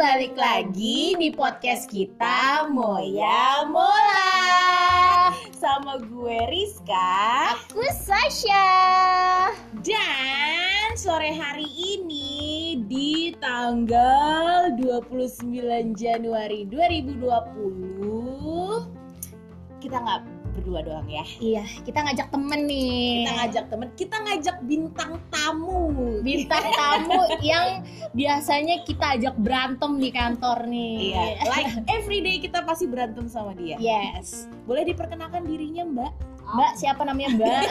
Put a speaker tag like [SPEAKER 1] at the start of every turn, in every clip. [SPEAKER 1] balik lagi di podcast kita Moya Mola Sama gue Rizka
[SPEAKER 2] Aku Sasha.
[SPEAKER 1] Dan sore hari ini di tanggal 29 Januari 2020 Kita nggak berdua doang ya
[SPEAKER 2] Iya, kita ngajak temen nih.
[SPEAKER 1] Kita ngajak temen, kita ngajak bintang tamu
[SPEAKER 2] bintang tamu yang biasanya kita ajak berantem di kantor nih.
[SPEAKER 1] Iya, like everyday kita pasti berantem sama dia
[SPEAKER 2] Iya. Yes.
[SPEAKER 1] Boleh diperkenalkan dirinya mbak?
[SPEAKER 2] Mbak, siapa namanya Mbak?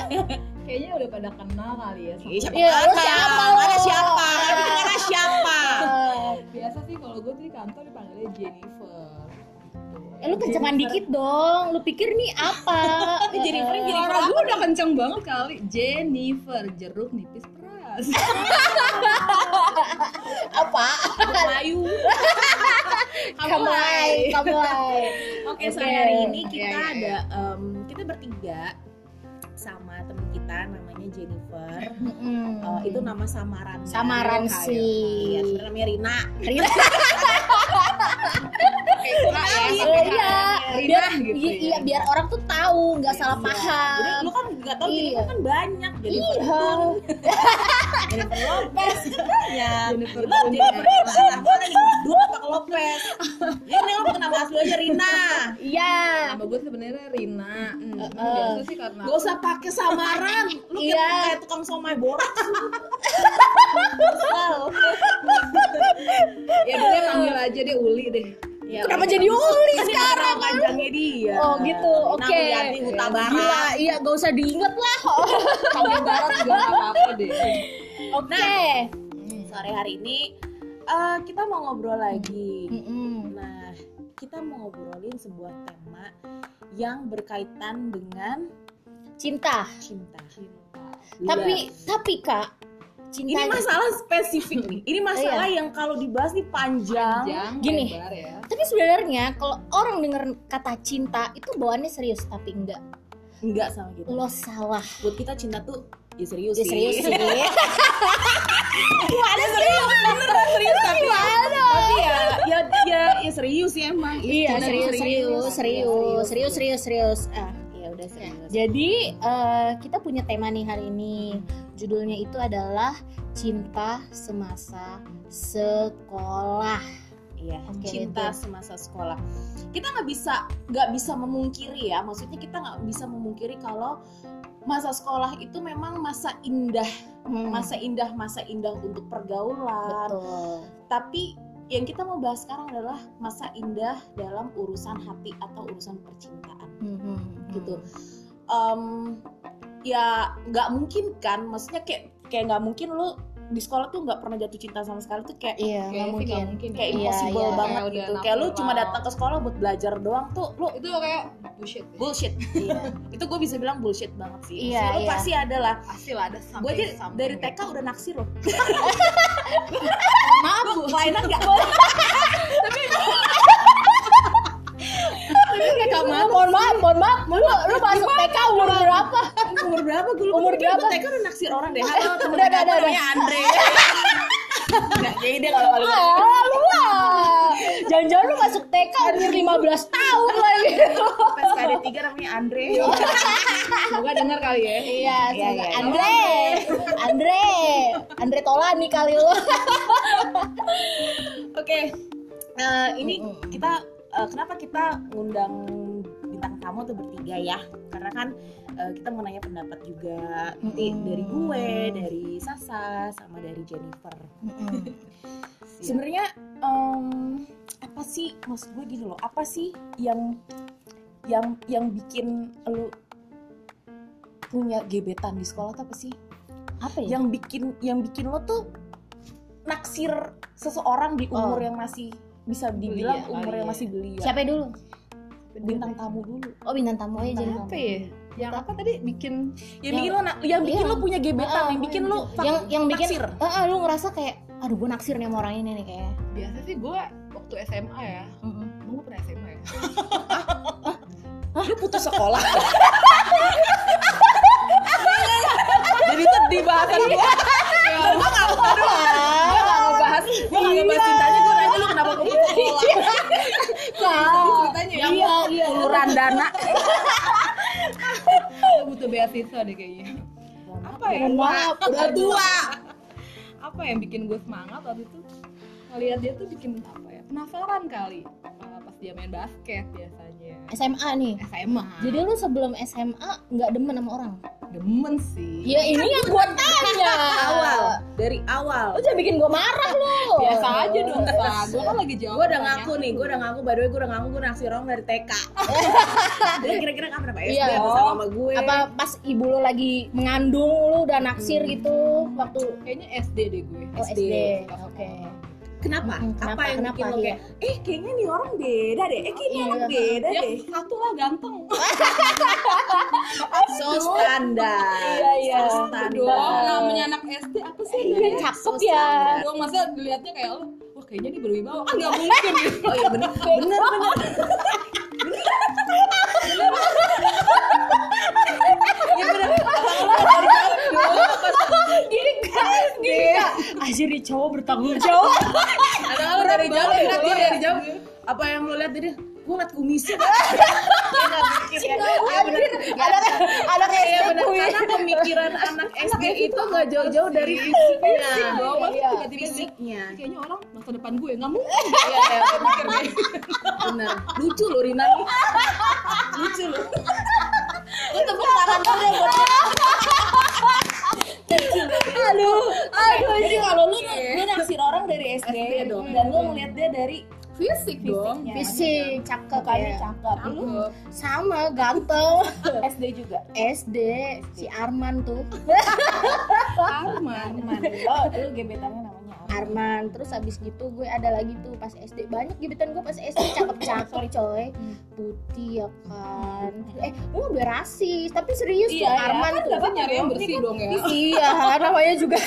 [SPEAKER 3] Kayaknya udah pada kenal kali ya. sama-
[SPEAKER 1] Iya, siapa
[SPEAKER 2] Iya, lu
[SPEAKER 1] kenal?
[SPEAKER 2] siapa lu?
[SPEAKER 1] Ada siapa? Ada negara siapa?
[SPEAKER 2] Eh,
[SPEAKER 3] Biasa sih kalau gue tuh di kantor dipanggilnya Jennifer. gitu.
[SPEAKER 2] eh, lu kencengan dikit dong. Lu pikir nih apa?
[SPEAKER 1] Ini jadi free, jadi
[SPEAKER 3] Suara gue udah kenceng banget kali. Jennifer jeruk nipis peras.
[SPEAKER 1] Eh,
[SPEAKER 2] apa?
[SPEAKER 1] Melayu.
[SPEAKER 2] Kamu lai, kamu lai.
[SPEAKER 1] Oke,
[SPEAKER 2] Oke.
[SPEAKER 1] sore hari ini kita
[SPEAKER 3] Iya, iya,
[SPEAKER 1] ada em, kita bertiga sama temen kita namanya Jennifer.
[SPEAKER 2] Mm-mm.
[SPEAKER 1] Eh, itu nama samaran.
[SPEAKER 2] Samaran
[SPEAKER 1] Iya,
[SPEAKER 2] sih.
[SPEAKER 1] Iya, sebenarnya namanya Rina.
[SPEAKER 2] Rina,
[SPEAKER 3] Kayak
[SPEAKER 2] iya, iya.
[SPEAKER 3] sama kayak
[SPEAKER 2] Biar,
[SPEAKER 3] Rina gitu
[SPEAKER 2] iya,
[SPEAKER 3] ya.
[SPEAKER 2] iya, biar orang tuh tahu, nggak salah
[SPEAKER 1] Iya. Jadi gitu.
[SPEAKER 2] paham.
[SPEAKER 1] lu kan nggak tahu
[SPEAKER 2] Iya.
[SPEAKER 1] Jennifer kan banyak jadi
[SPEAKER 2] Iya.
[SPEAKER 1] Jennifer Lopez kan banyak.
[SPEAKER 3] Jennifer
[SPEAKER 1] Lu Jennifer
[SPEAKER 3] Jennifer.
[SPEAKER 1] Lopez gue lagi dua Pak Lopez. Ya nih lu kenapa asli aja Rina?
[SPEAKER 2] Iya.
[SPEAKER 3] Nama gue sebenarnya Rina. Hmm,
[SPEAKER 2] Eh, eh.
[SPEAKER 3] Biasa sih karena
[SPEAKER 1] Gak usah pakai samaran. Lu kayak-
[SPEAKER 2] Iya.
[SPEAKER 1] kayak tukang somai borak.
[SPEAKER 3] ya dulu ya panggil aja deh Uli deh.
[SPEAKER 1] Ya,
[SPEAKER 2] Kenapa jadi uli sekarang?
[SPEAKER 1] Nama panjangnya dia.
[SPEAKER 2] Oh, gitu.
[SPEAKER 1] Rina
[SPEAKER 2] Oke.
[SPEAKER 1] Wiyati Huta
[SPEAKER 2] Gila,
[SPEAKER 1] Barat.
[SPEAKER 2] iya gak usah diinget lah.
[SPEAKER 3] Panggil Barat juga nggak apa-apa deh.
[SPEAKER 2] Oke.
[SPEAKER 3] Hmm.
[SPEAKER 1] Sore hari ini eh, kita mau ngobrol lagi.
[SPEAKER 2] Mm-mm.
[SPEAKER 1] Nah, kita mau ngobrolin sebuah tema yang berkaitan dengan
[SPEAKER 2] Cinta.
[SPEAKER 1] Iya. cinta. Gila.
[SPEAKER 2] Tapi tapi Kak, cinta
[SPEAKER 1] ini
[SPEAKER 2] Iya.
[SPEAKER 1] masalah spesifik nih. Ini masalah yang kalau dibahas nih panjang.
[SPEAKER 3] Panjang,
[SPEAKER 2] Gini.
[SPEAKER 3] lebar ya.
[SPEAKER 2] Tapi sebenarnya kalau orang denger kata cinta itu bawaannya serius tapi enggak.
[SPEAKER 1] Enggak sama kita.
[SPEAKER 2] Lo salah.
[SPEAKER 1] Buat kita cinta tuh ya Iya, serius
[SPEAKER 2] Ya
[SPEAKER 1] sih.
[SPEAKER 2] serius sih.
[SPEAKER 1] ada serius, bener kan serius tapi
[SPEAKER 2] Gimana?
[SPEAKER 1] tapi ya ya ya, ya serius sih emang.
[SPEAKER 2] Iya,
[SPEAKER 1] Cinta tuh
[SPEAKER 2] serius serius serius serius serius serius. Ah.
[SPEAKER 1] Ya udah serius.
[SPEAKER 2] Jadi eh, kita punya tema nih hari ini. Judulnya itu adalah Cinta Semasa Sekolah.
[SPEAKER 1] Iya,
[SPEAKER 2] Oke,
[SPEAKER 1] cinta
[SPEAKER 2] itu.
[SPEAKER 1] semasa sekolah. Kita nggak bisa nggak bisa memungkiri ya, maksudnya kita nggak bisa memungkiri kalau masa sekolah itu memang masa indah,
[SPEAKER 2] Hmm,
[SPEAKER 1] masa indah, masa indah untuk pergaulan.
[SPEAKER 2] betul.
[SPEAKER 1] Tapi yang kita mau bahas sekarang adalah masa indah dalam urusan hati atau urusan percintaan.
[SPEAKER 2] gitu.
[SPEAKER 1] gitu. Em, ya nggak mungkin kan, maksudnya kayak kayak nggak mungkin lu di sekolah tuh nggak pernah jatuh cinta sama sekali tuh kayak
[SPEAKER 2] Iya, nggak
[SPEAKER 3] Kayaknya sih
[SPEAKER 2] mungkin.
[SPEAKER 3] nggak mungkin. ya.
[SPEAKER 1] kayak
[SPEAKER 2] Iya,
[SPEAKER 1] impossible
[SPEAKER 2] iya.
[SPEAKER 1] banget
[SPEAKER 3] Kayak udah
[SPEAKER 1] gitu kayak lu
[SPEAKER 3] natural.
[SPEAKER 1] cuma datang ke sekolah buat belajar doang tuh lu
[SPEAKER 3] Itu kayak bullshit. ya.
[SPEAKER 1] bullshit itu gue bisa bilang bullshit banget sih
[SPEAKER 2] Iya,
[SPEAKER 1] Maksudnya lu
[SPEAKER 2] iya.
[SPEAKER 1] pasti ada lah
[SPEAKER 3] Pasti lah ada sampai
[SPEAKER 1] gue aja dari TK udah naksir loh
[SPEAKER 3] Maaf
[SPEAKER 1] Lu
[SPEAKER 3] Bu.
[SPEAKER 1] kelainan gak?
[SPEAKER 3] Kakak
[SPEAKER 2] Mohon mohon maaf, mohon maaf. Lu, lu masuk TK umur berapa?
[SPEAKER 1] umur berapa gue
[SPEAKER 2] Umur berapa?
[SPEAKER 1] TK udah naksir orang deh halo temen
[SPEAKER 2] Udah,
[SPEAKER 1] TK
[SPEAKER 2] udah, udah,
[SPEAKER 1] namanya Andre Nggak jadi deh kalau kalau
[SPEAKER 2] Ah, lu lah. Jangan-jangan lu masuk TK umur 15 tahun lagi. Iya,
[SPEAKER 1] pas ada tiga namanya Andre
[SPEAKER 3] Semoga dengar kali ya.
[SPEAKER 2] Iya,
[SPEAKER 1] Iya,
[SPEAKER 2] semoga.
[SPEAKER 1] iya.
[SPEAKER 2] Andre. Andre. Andre Tolani kali lu.
[SPEAKER 1] oke eh, ini
[SPEAKER 2] Mm-mm.
[SPEAKER 1] kita eh, kenapa kita ngundang bintang tamu tuh bertiga ya karena kan eh, kita mau nanya pendapat juga nanti
[SPEAKER 2] Mm-mm.
[SPEAKER 1] dari gue dari Sasa sama dari Jennifer Iya. sebenarnya
[SPEAKER 3] Sebenarnya
[SPEAKER 1] em, apa sih maksud gue gini loh apa sih yang yang yang bikin lu punya gebetan di sekolah tuh apa sih
[SPEAKER 2] Apa ya?
[SPEAKER 1] yang bikin yang bikin lo tuh naksir seseorang di umur
[SPEAKER 2] Oh.
[SPEAKER 1] yang masih bisa dibilang
[SPEAKER 3] Belia kali
[SPEAKER 1] umur yang
[SPEAKER 3] ya.
[SPEAKER 1] masih belia
[SPEAKER 2] Siapa dulu?
[SPEAKER 1] bintang tamu dulu
[SPEAKER 2] Oh, bintang tamu aja jadi.
[SPEAKER 3] apa ya? Yang apa tadi bikin
[SPEAKER 1] yang bikin lo na- yang bikin
[SPEAKER 2] Iya.
[SPEAKER 1] lo punya gebetan
[SPEAKER 2] Ah,
[SPEAKER 1] yang bikin lo fak-
[SPEAKER 2] Yang yang bikin
[SPEAKER 1] naksir.
[SPEAKER 2] Heeh, lu ngerasa kayak aduh gue naksir nih sama orang ini nih kayaknya.
[SPEAKER 3] biasa sih gue waktu SMA ya.
[SPEAKER 2] Mm-mm.
[SPEAKER 3] Emang gue pernah SMA ya?
[SPEAKER 1] lu putus sekolah jadi sedih banget
[SPEAKER 3] Iya.
[SPEAKER 1] Ya, gua
[SPEAKER 3] Gue gak ngebahas, gue gak ngebahas cintanya, gue nanya lu kenapa gue putus
[SPEAKER 2] Iya.
[SPEAKER 1] Penggalangan dana.
[SPEAKER 3] Aku butuh beasiswa deh kayaknya. Apa ya?
[SPEAKER 1] Mohon maaf, udah tua.
[SPEAKER 3] Apa yang bikin gue semangat waktu itu? Ngeliat dia tuh bikin apa ya? Penasaran kali. Uh, Pas dia main basket biasanya.
[SPEAKER 2] SMA nih.
[SPEAKER 3] SMA.
[SPEAKER 2] Jadi lu sebelum SMA nggak demen sama orang?
[SPEAKER 3] demen
[SPEAKER 1] Iya.
[SPEAKER 3] sih.
[SPEAKER 2] Ya ini yang gua tanya.
[SPEAKER 1] Awal, dari awal.
[SPEAKER 2] Lu jangan bikin gua marah lu.
[SPEAKER 3] Biasa aja dong, Sa. Gue kan lagi
[SPEAKER 1] Gue
[SPEAKER 3] jawab.
[SPEAKER 1] udah
[SPEAKER 3] pertanyaan
[SPEAKER 1] ngaku nih, gue udah ngaku by the way gue udah ngaku gue naksir orang dari TK. Lu kira-kira kan kapan apa SD
[SPEAKER 2] Iya.
[SPEAKER 1] apa sama sama gue?
[SPEAKER 2] Apa pas ibu lu lagi mengandung lu udah naksir gitu waktu
[SPEAKER 3] Kayaknya SD deh gue.
[SPEAKER 2] oh,
[SPEAKER 1] SD.
[SPEAKER 2] SD.
[SPEAKER 3] Suka
[SPEAKER 2] Oke.
[SPEAKER 3] sama-
[SPEAKER 1] Kenapa?
[SPEAKER 2] Mm-mm,
[SPEAKER 1] apa
[SPEAKER 2] Hmm, kenapa,
[SPEAKER 1] yang bikin
[SPEAKER 2] kenapa,
[SPEAKER 1] lo kayak, eh kayaknya nih orang beda deh, eh kayaknya
[SPEAKER 2] Iya,
[SPEAKER 1] orang
[SPEAKER 2] iya.
[SPEAKER 1] beda
[SPEAKER 3] Ya,
[SPEAKER 1] deh.
[SPEAKER 3] satu lah ganteng.
[SPEAKER 1] So standar.
[SPEAKER 2] Iya, iya.
[SPEAKER 1] So
[SPEAKER 3] Dong,
[SPEAKER 1] standar.
[SPEAKER 3] namanya anak SD apa sih?
[SPEAKER 2] Kan
[SPEAKER 3] Iya.
[SPEAKER 2] cakep ya.
[SPEAKER 3] Dong, masa dilihatnya kayak lo, wah kayaknya dia berwibawa. Ah, nggak mungkin.
[SPEAKER 1] Oh iya bener, bener, bener. Iya bener.
[SPEAKER 2] Gini kan, gini kan. Akhirnya cowok bertanggung jawab.
[SPEAKER 1] Ada lu dari jauh, lihat dia
[SPEAKER 3] iya.
[SPEAKER 1] dari jauh. Apa yang lo lihat dari gue ngeliat kumisnya Kak. Dia nggak mikir ya. Iya bener.
[SPEAKER 2] anak anak
[SPEAKER 1] Iya
[SPEAKER 2] SD
[SPEAKER 1] bener.
[SPEAKER 2] kuy.
[SPEAKER 1] Karena pemikiran anak SD itu nggak jauh-jauh dari fisiknya.
[SPEAKER 3] Iya, dong, masa
[SPEAKER 2] Iya.
[SPEAKER 3] tiba-tiba ini,
[SPEAKER 1] Fisiknya.
[SPEAKER 3] kayaknya orang masa depan gue nggak mungkin.
[SPEAKER 1] Iya, iya, mikir deh. Bener. Lucu lo Rina lu. Lucu lo.
[SPEAKER 2] Lu tepuk tangan dulu ya buat dia. Aduh, aduh.
[SPEAKER 1] Jadi kalau lu lu naksir orang dari SD,
[SPEAKER 3] SD dong.
[SPEAKER 1] dan lu ngeliat dia dari
[SPEAKER 3] Fisik dong.
[SPEAKER 1] Fisiknya.
[SPEAKER 2] Fisik cakep
[SPEAKER 1] mukanya
[SPEAKER 2] ya.
[SPEAKER 1] cakep. Lu
[SPEAKER 3] Cakep.
[SPEAKER 2] Sama ganteng.
[SPEAKER 1] SD juga.
[SPEAKER 2] SD si Arman tuh.
[SPEAKER 3] Arman.
[SPEAKER 1] Teman. Oh, lu gebetannya namanya apa?
[SPEAKER 2] Arman terus abis gitu gue ada lagi tuh pas SD banyak gebetan gue pas SD cakep-cakep coy
[SPEAKER 3] Hmm.
[SPEAKER 2] putih ya kan eh gue gak rasis tapi serius
[SPEAKER 1] Iya,
[SPEAKER 2] tuh
[SPEAKER 1] iya.
[SPEAKER 2] Arman
[SPEAKER 1] Kan
[SPEAKER 2] tuh
[SPEAKER 1] dapat
[SPEAKER 3] Nyari yang bersih dong ya.
[SPEAKER 2] iya namanya juga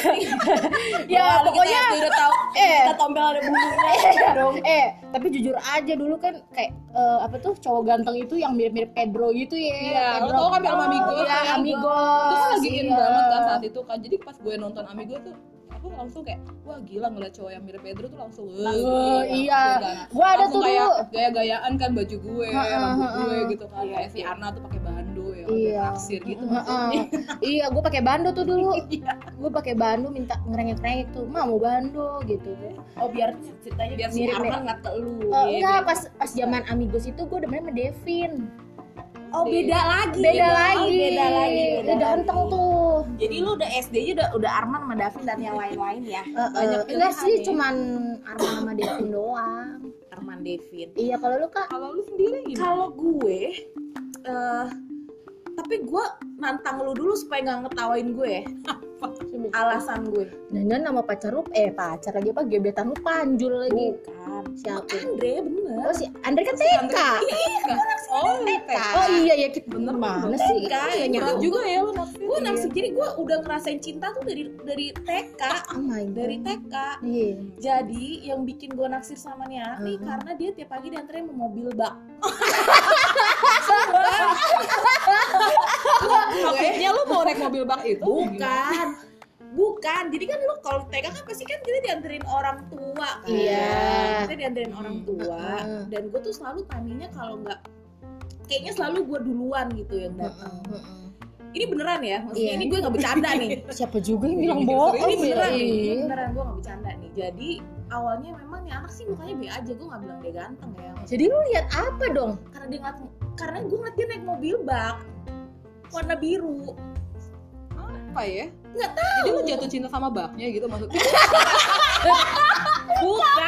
[SPEAKER 2] ya
[SPEAKER 1] Kalau
[SPEAKER 2] pokoknya
[SPEAKER 1] kita ya, udah tahu
[SPEAKER 2] eh
[SPEAKER 1] kita tombel ada bumbunya dong.
[SPEAKER 2] eh tapi jujur aja dulu kan kayak eh, apa tuh cowok ganteng itu yang mirip-mirip Pedro gitu ya
[SPEAKER 3] Iya, lo
[SPEAKER 2] Pedro.
[SPEAKER 3] tau kan film Amigos
[SPEAKER 2] Iya,
[SPEAKER 3] kan?
[SPEAKER 2] Amigos
[SPEAKER 3] Itu kan lagi in
[SPEAKER 2] iya.
[SPEAKER 3] banget kan saat itu kan. Jadi pas gue nonton Amigo tuh aku langsung kayak wah gila ngeliat cowok yang mirip Pedro tuh langsung "Wah,
[SPEAKER 2] Eh,
[SPEAKER 3] gila."
[SPEAKER 2] iya
[SPEAKER 3] Gila.
[SPEAKER 2] gue ada
[SPEAKER 3] Langsung
[SPEAKER 2] tuh
[SPEAKER 3] kayak
[SPEAKER 2] dulu
[SPEAKER 3] gaya-gayaan kan baju gue,
[SPEAKER 2] Ha, ha,
[SPEAKER 3] rambut
[SPEAKER 2] ha,
[SPEAKER 3] gue
[SPEAKER 2] ha.
[SPEAKER 3] gitu kan.
[SPEAKER 1] Iya.
[SPEAKER 3] Kayak si Arna tuh pakai bando ya,
[SPEAKER 2] Iya.
[SPEAKER 3] pakai naksir gitu maksudnya.
[SPEAKER 2] Heeh. iya, gue pakai bando tuh dulu. gue pakai bando minta ngerengek-rengek tuh, ma mau bando gitu.
[SPEAKER 1] Oh biar ceritanya
[SPEAKER 3] Biar si
[SPEAKER 1] mirip
[SPEAKER 3] Arna
[SPEAKER 1] ya?
[SPEAKER 3] nggak ke lu. iya,
[SPEAKER 2] Eh, enggak, pas pas zaman amigos itu gue demen sama Devin.
[SPEAKER 1] Oh beda lagi. Oh,
[SPEAKER 2] Beda lagi,
[SPEAKER 1] Beda lagi.
[SPEAKER 2] Udah ganteng
[SPEAKER 1] lagi.
[SPEAKER 2] tuh.
[SPEAKER 1] Jadi lu udah SD aja udah udah Arman sama Davin dan yang lain-lain ya.
[SPEAKER 2] Eh, eh,
[SPEAKER 3] Banyak
[SPEAKER 2] enggak
[SPEAKER 3] pilihan
[SPEAKER 2] sih,
[SPEAKER 3] ya.
[SPEAKER 2] cuman Arman sama Devin doang.
[SPEAKER 1] Arman Davin.
[SPEAKER 2] Iya, kalau lu kak,
[SPEAKER 3] Kalau lu sendiri gimana?
[SPEAKER 1] Kalau gue eh tapi gue nantang lu dulu supaya nggak ngetawain gue ya. Alasan gue.
[SPEAKER 2] jangan nama pacar lu, eh pacar lagi apa? Gebetan lu panjul lagi.
[SPEAKER 1] Bukan.
[SPEAKER 2] Siapa?
[SPEAKER 1] Andre bener.
[SPEAKER 2] Oh si Andre kan TK.
[SPEAKER 3] Oh, TK.
[SPEAKER 2] Oh iya ya kita
[SPEAKER 3] Bener,
[SPEAKER 2] mana
[SPEAKER 3] bener.
[SPEAKER 2] sih?
[SPEAKER 1] TK,
[SPEAKER 2] Iya,
[SPEAKER 1] bener.
[SPEAKER 2] nyambung.
[SPEAKER 3] juga ya lu naksir.
[SPEAKER 1] Gue naksir jadi gue udah ngerasain cinta tuh dari dari TK,
[SPEAKER 2] Oh my god.
[SPEAKER 1] dari TK.
[SPEAKER 2] Iya.
[SPEAKER 1] Jadi yang bikin gue naksir sama Niani
[SPEAKER 2] Mhm.
[SPEAKER 1] karena dia tiap pagi diantarin sama mobil bak.
[SPEAKER 3] Maksudnya lu mau naik mobil bak itu?
[SPEAKER 2] Oh,
[SPEAKER 3] gimana?
[SPEAKER 1] Bukan.
[SPEAKER 2] iya.
[SPEAKER 1] Bukan. Jadi kan lu kalau TK kan pasti kan kita dianterin orang tua kan.
[SPEAKER 2] Iya.
[SPEAKER 1] Kita dianterin orang tua
[SPEAKER 2] Heeh.
[SPEAKER 1] dan gue tuh selalu taminya kalau nggak kayaknya selalu gue duluan gitu yang datang.
[SPEAKER 2] Heeh, heeh.
[SPEAKER 1] Ini beneran ya? Maksudnya
[SPEAKER 2] Hmm. Iya.
[SPEAKER 1] ini gue nggak bercanda nih. Oh,
[SPEAKER 2] siapa juga yang
[SPEAKER 3] bilang
[SPEAKER 2] bilang
[SPEAKER 3] bohong
[SPEAKER 2] bohong
[SPEAKER 1] ini beneran
[SPEAKER 3] Iya.
[SPEAKER 1] nih. Ini beneran gue nggak bercanda nih. Jadi awalnya memang nih anak sih mukanya B aja gue nggak bilang dia ganteng ya. Maksudnya
[SPEAKER 2] jadi lu lihat apa dong
[SPEAKER 1] karena dia ngeliat karena gue ngeliat dia naik mobil bak warna biru.
[SPEAKER 3] Apa ya?
[SPEAKER 1] Nggak
[SPEAKER 3] tahu. Jadi lu jatuh cinta sama baknya gitu maksudnya.
[SPEAKER 1] Bukan.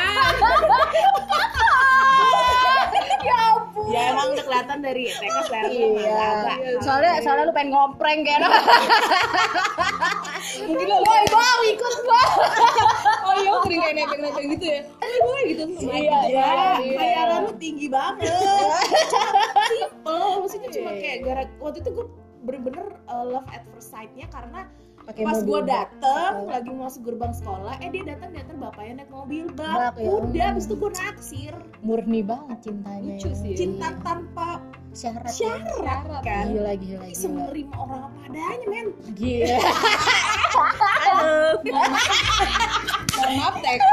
[SPEAKER 2] ya ampun
[SPEAKER 1] ya emang udah kelihatan dari TK sekarang
[SPEAKER 2] iya soalnya soalnya lu pengen ngompreng kayak
[SPEAKER 3] Mungkin lu
[SPEAKER 2] woi bang ikut bang
[SPEAKER 3] Oh iya, sering kayak nebeng-nebeng gitu ya. Woi, woi gitu sama
[SPEAKER 2] Iya,
[SPEAKER 1] Ya,
[SPEAKER 2] Iya.
[SPEAKER 1] khayalan lu tinggi banget. Simple, maksudnya cuma kayak gara waktu itu gue bener-bener uh, love at first sight-nya karena
[SPEAKER 2] pakai
[SPEAKER 1] pas gue
[SPEAKER 2] dat
[SPEAKER 1] dateng
[SPEAKER 2] Betul.
[SPEAKER 1] lagi mau masuk gerbang sekolah, eh dia datang diantar bapaknya naik mobil bak.
[SPEAKER 2] Bak, ya
[SPEAKER 1] Udah,
[SPEAKER 2] ampun.
[SPEAKER 1] abis itu gue naksir.
[SPEAKER 2] murni banget cintanya
[SPEAKER 3] Lucu sih ya.
[SPEAKER 1] Cinta tanpa
[SPEAKER 2] syarat
[SPEAKER 1] syarat kan.
[SPEAKER 2] gila gila
[SPEAKER 1] Bisa
[SPEAKER 2] gila
[SPEAKER 1] menerima orang apa adanya, men.
[SPEAKER 2] gila Iya.
[SPEAKER 3] Mohon maaf TK ya.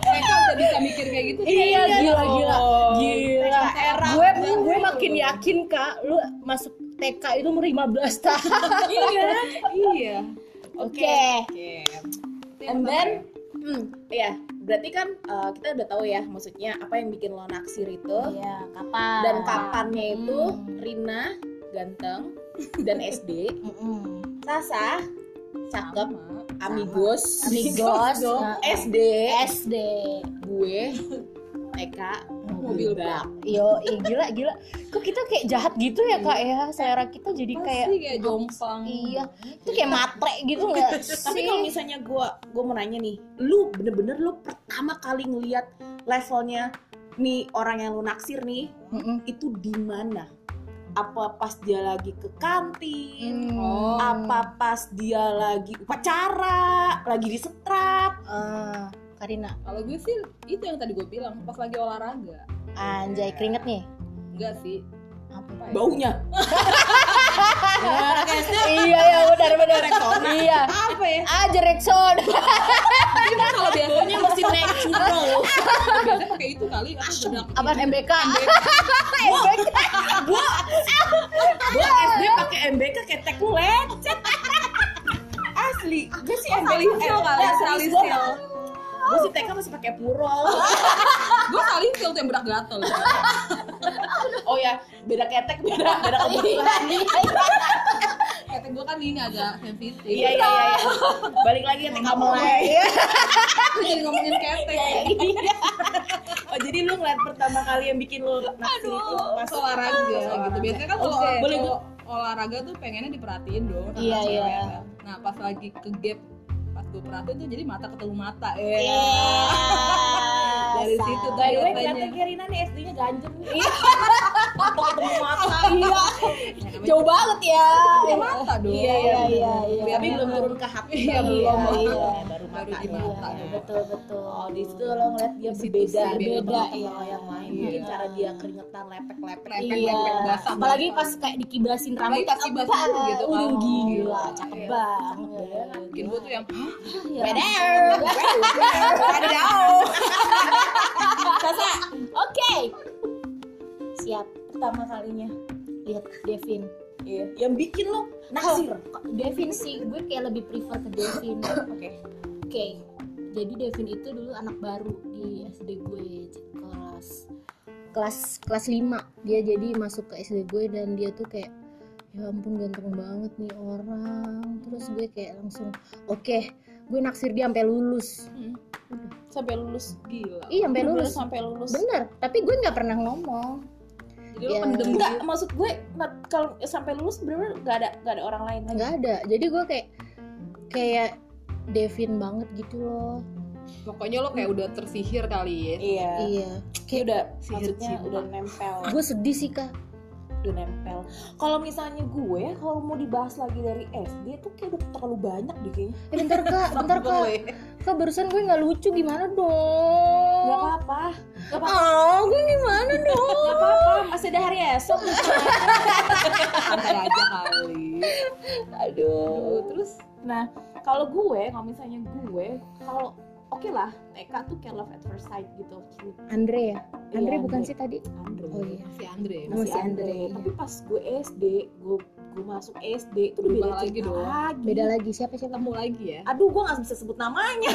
[SPEAKER 3] TK udah bisa mikir kayak gitu.
[SPEAKER 2] Iya,
[SPEAKER 3] Kayaknya
[SPEAKER 2] gila,
[SPEAKER 3] dong.
[SPEAKER 2] gila.
[SPEAKER 1] Era
[SPEAKER 2] gue ya. masuk TK itu umur 15 tahun.
[SPEAKER 3] iya iya
[SPEAKER 2] Oke.
[SPEAKER 3] oke
[SPEAKER 1] And then, hmm, ya berarti kan eh, kita udah tahu ya, maksudnya apa yang bikin lo naksir itu
[SPEAKER 2] Iya, kapan?
[SPEAKER 1] dan kapannya itu
[SPEAKER 3] Hmm.
[SPEAKER 1] Rina ganteng dan SD,
[SPEAKER 2] Mm-mm.
[SPEAKER 1] Sasa cakep, amigos,
[SPEAKER 2] Amigos,
[SPEAKER 1] dong,
[SPEAKER 2] nah.
[SPEAKER 1] SD,
[SPEAKER 2] SD.
[SPEAKER 1] gue, TK, mobil bak.
[SPEAKER 2] Yo, ih, gila gila. Kok kita kayak jahat gitu ya, Kak ya? Selera kita jadi kayak
[SPEAKER 3] pasti kayak jomplang
[SPEAKER 2] Iya, itu kayak matre gitu nggak sih?
[SPEAKER 1] Tapi kalau misalnya gue gue mau nanya nih, lu bener-bener lu pertama kali ngeliat levelnya nih orang yang lu naksir nih
[SPEAKER 2] Mm-mm.
[SPEAKER 1] itu di mana? Apa pas dia lagi ke kantin?
[SPEAKER 2] Hmm.
[SPEAKER 3] Oh.
[SPEAKER 1] Apa pas dia lagi upacara, lagi di setrap?
[SPEAKER 2] Ah, Karina,
[SPEAKER 3] kalau gue sih itu yang tadi gue bilang pas lagi olahraga
[SPEAKER 1] Iya.
[SPEAKER 2] anjay keringet nih.
[SPEAKER 3] enggak sih
[SPEAKER 2] Apa?
[SPEAKER 3] apa ya?
[SPEAKER 1] Baunya.
[SPEAKER 2] iya ya benar benar. iya.
[SPEAKER 3] apa ya
[SPEAKER 2] Ah, Jackson.
[SPEAKER 3] Kita
[SPEAKER 2] kan
[SPEAKER 3] kalau biasanya
[SPEAKER 1] Mesti naik cupro.
[SPEAKER 3] biasanya pakai itu kali apa bedak
[SPEAKER 2] Apaan MBK?
[SPEAKER 1] Iya. gue SD pakai MBK ketek lu lecet. Asli, gue sih
[SPEAKER 3] eh,
[SPEAKER 1] MBK
[SPEAKER 3] salisil Oh, kali ya,
[SPEAKER 1] Nah,
[SPEAKER 3] salisil
[SPEAKER 1] Gue sih TK masih pakai purol.
[SPEAKER 3] gue salisil tuh yang berak gatel
[SPEAKER 1] Oh ya, beda ketek, beda beda kebutuhan.
[SPEAKER 3] kata gue kan ini agak sensitif
[SPEAKER 1] Iya iya iya. iya. Balik lagi ya, ke TK mulai.
[SPEAKER 2] Iya.
[SPEAKER 3] Lu jadi ngomongin ketek
[SPEAKER 1] Iya, Oh jadi lu ngeliat pertama kali yang bikin lu naksir itu
[SPEAKER 3] Pas
[SPEAKER 1] pas
[SPEAKER 3] olahraga gitu
[SPEAKER 1] olahraga.
[SPEAKER 3] biasanya kan kalau
[SPEAKER 1] Oke,
[SPEAKER 3] kalau
[SPEAKER 1] boleh gue-
[SPEAKER 3] olahraga tuh pengennya diperhatiin dong sama
[SPEAKER 2] Iya,
[SPEAKER 3] cewek
[SPEAKER 2] iya.
[SPEAKER 3] kan. nah pas lagi ke gap pas gue perhatiin tuh jadi mata ketemu mata ya
[SPEAKER 2] Iya.
[SPEAKER 3] Dari situ tuh.
[SPEAKER 1] By the way,
[SPEAKER 3] Biasanya.
[SPEAKER 1] ternyata Kirina nih SD-nya ganjen nih. Atau Iya. ketemu mata. Iya.
[SPEAKER 2] Jauh banget ya.
[SPEAKER 3] Ketemu mata dong
[SPEAKER 2] Iya, iya, iya, iya.
[SPEAKER 1] Tapi belum turun ke hati.
[SPEAKER 3] Iya,
[SPEAKER 1] belum.
[SPEAKER 2] iya.
[SPEAKER 1] Baru
[SPEAKER 3] Baru
[SPEAKER 1] mata.
[SPEAKER 3] di
[SPEAKER 1] doang.
[SPEAKER 3] mata.
[SPEAKER 2] Iya, betul betul.
[SPEAKER 1] Oh, di situ lo ngeliat dia
[SPEAKER 3] Di situ
[SPEAKER 1] berbeda,
[SPEAKER 3] sih,
[SPEAKER 1] beda,
[SPEAKER 2] beda,
[SPEAKER 1] iya.
[SPEAKER 2] iya.
[SPEAKER 1] yang lain.
[SPEAKER 3] Iya.
[SPEAKER 1] Mungkin cara dia keringetan, lepek-lepek.
[SPEAKER 3] Lepek,
[SPEAKER 2] Iya.
[SPEAKER 3] lepek, basah,
[SPEAKER 2] Apalagi
[SPEAKER 3] basah.
[SPEAKER 2] pas kayak dikibasin
[SPEAKER 3] Apalagi
[SPEAKER 2] rambut
[SPEAKER 3] pas kibasin
[SPEAKER 2] apa,
[SPEAKER 1] kan.
[SPEAKER 3] gitu,
[SPEAKER 2] uh,
[SPEAKER 3] oh,
[SPEAKER 2] gila,
[SPEAKER 3] iya.
[SPEAKER 2] cakep
[SPEAKER 3] Iya.
[SPEAKER 2] banget.
[SPEAKER 3] mungkin gue tuh yang "Hah,
[SPEAKER 2] Iya.
[SPEAKER 1] Wadaw.
[SPEAKER 2] Sasa. Oke. Siap.
[SPEAKER 1] Pertama kalinya.
[SPEAKER 2] Lihat Devin.
[SPEAKER 1] Iya. Yang bikin lo
[SPEAKER 2] Nah,
[SPEAKER 1] naksir.
[SPEAKER 2] Devin sih gue kayak lebih prefer ke Devin.
[SPEAKER 1] Oke.
[SPEAKER 2] Oke, jadi Devin itu dulu anak baru di SD gue kelas kelas kelas 5 dia jadi masuk ke SD gue dan dia tuh kayak ya ampun ganteng banget nih orang terus gue kayak langsung oke gue naksir dia sampai lulus
[SPEAKER 1] Sampai lulus.
[SPEAKER 3] gila
[SPEAKER 2] iya sampai lulus
[SPEAKER 1] sampai lulus.
[SPEAKER 2] bener tapi gue nggak pernah ngomong
[SPEAKER 3] jadi lu
[SPEAKER 2] Iya.
[SPEAKER 3] pendem
[SPEAKER 1] Enggak,
[SPEAKER 3] gitu.
[SPEAKER 1] maksud gue nat- kalau sampai lulus bener-bener gak ada gak ada orang lain lagi.
[SPEAKER 2] nggak ada jadi gue kayak kayak Devin banget gitu loh
[SPEAKER 3] pokoknya lo kayak udah tersihir kali ya
[SPEAKER 1] Iya.
[SPEAKER 2] iya
[SPEAKER 1] Kayak udah
[SPEAKER 3] Sihir
[SPEAKER 1] maksudnya
[SPEAKER 3] cinta.
[SPEAKER 1] udah nempel,
[SPEAKER 2] gue sedih sih kak
[SPEAKER 1] udah nempel. Kalau misalnya gue ya kalau mau dibahas lagi dari SD tuh kayak udah terlalu banyak deh kayaknya.
[SPEAKER 2] eh, bentar kak bentar kak
[SPEAKER 3] Boleh.
[SPEAKER 2] Kak barusan gue nggak lucu gimana
[SPEAKER 1] Gak
[SPEAKER 2] dong?
[SPEAKER 1] apa-apa. Gak apa-apa.
[SPEAKER 2] Oh, gue gimana dong?
[SPEAKER 1] Gak apa-apa, masih ada hari esok.
[SPEAKER 3] santai aja kali
[SPEAKER 1] Aduh.
[SPEAKER 3] terus
[SPEAKER 1] Nah, kalau gue, kalau misalnya gue, kalau oke lah, TK tuh kayak love at first sight gitu.
[SPEAKER 2] Andre ya? Andre
[SPEAKER 1] Iya,
[SPEAKER 2] bukan sih tadi?
[SPEAKER 1] Andre.
[SPEAKER 2] Oh iya.
[SPEAKER 3] si Andre
[SPEAKER 2] Masih
[SPEAKER 1] Masih Andre.
[SPEAKER 2] Andre,
[SPEAKER 1] Tapi pas gue SD, gue gue masuk SD itu udah beda
[SPEAKER 3] Berubah lagi
[SPEAKER 1] cerita
[SPEAKER 3] dong.
[SPEAKER 1] lagi.
[SPEAKER 2] Beda lagi siapa siapa?
[SPEAKER 3] ketemu lagi ya
[SPEAKER 1] Aduh, gue gak bisa sebut namanya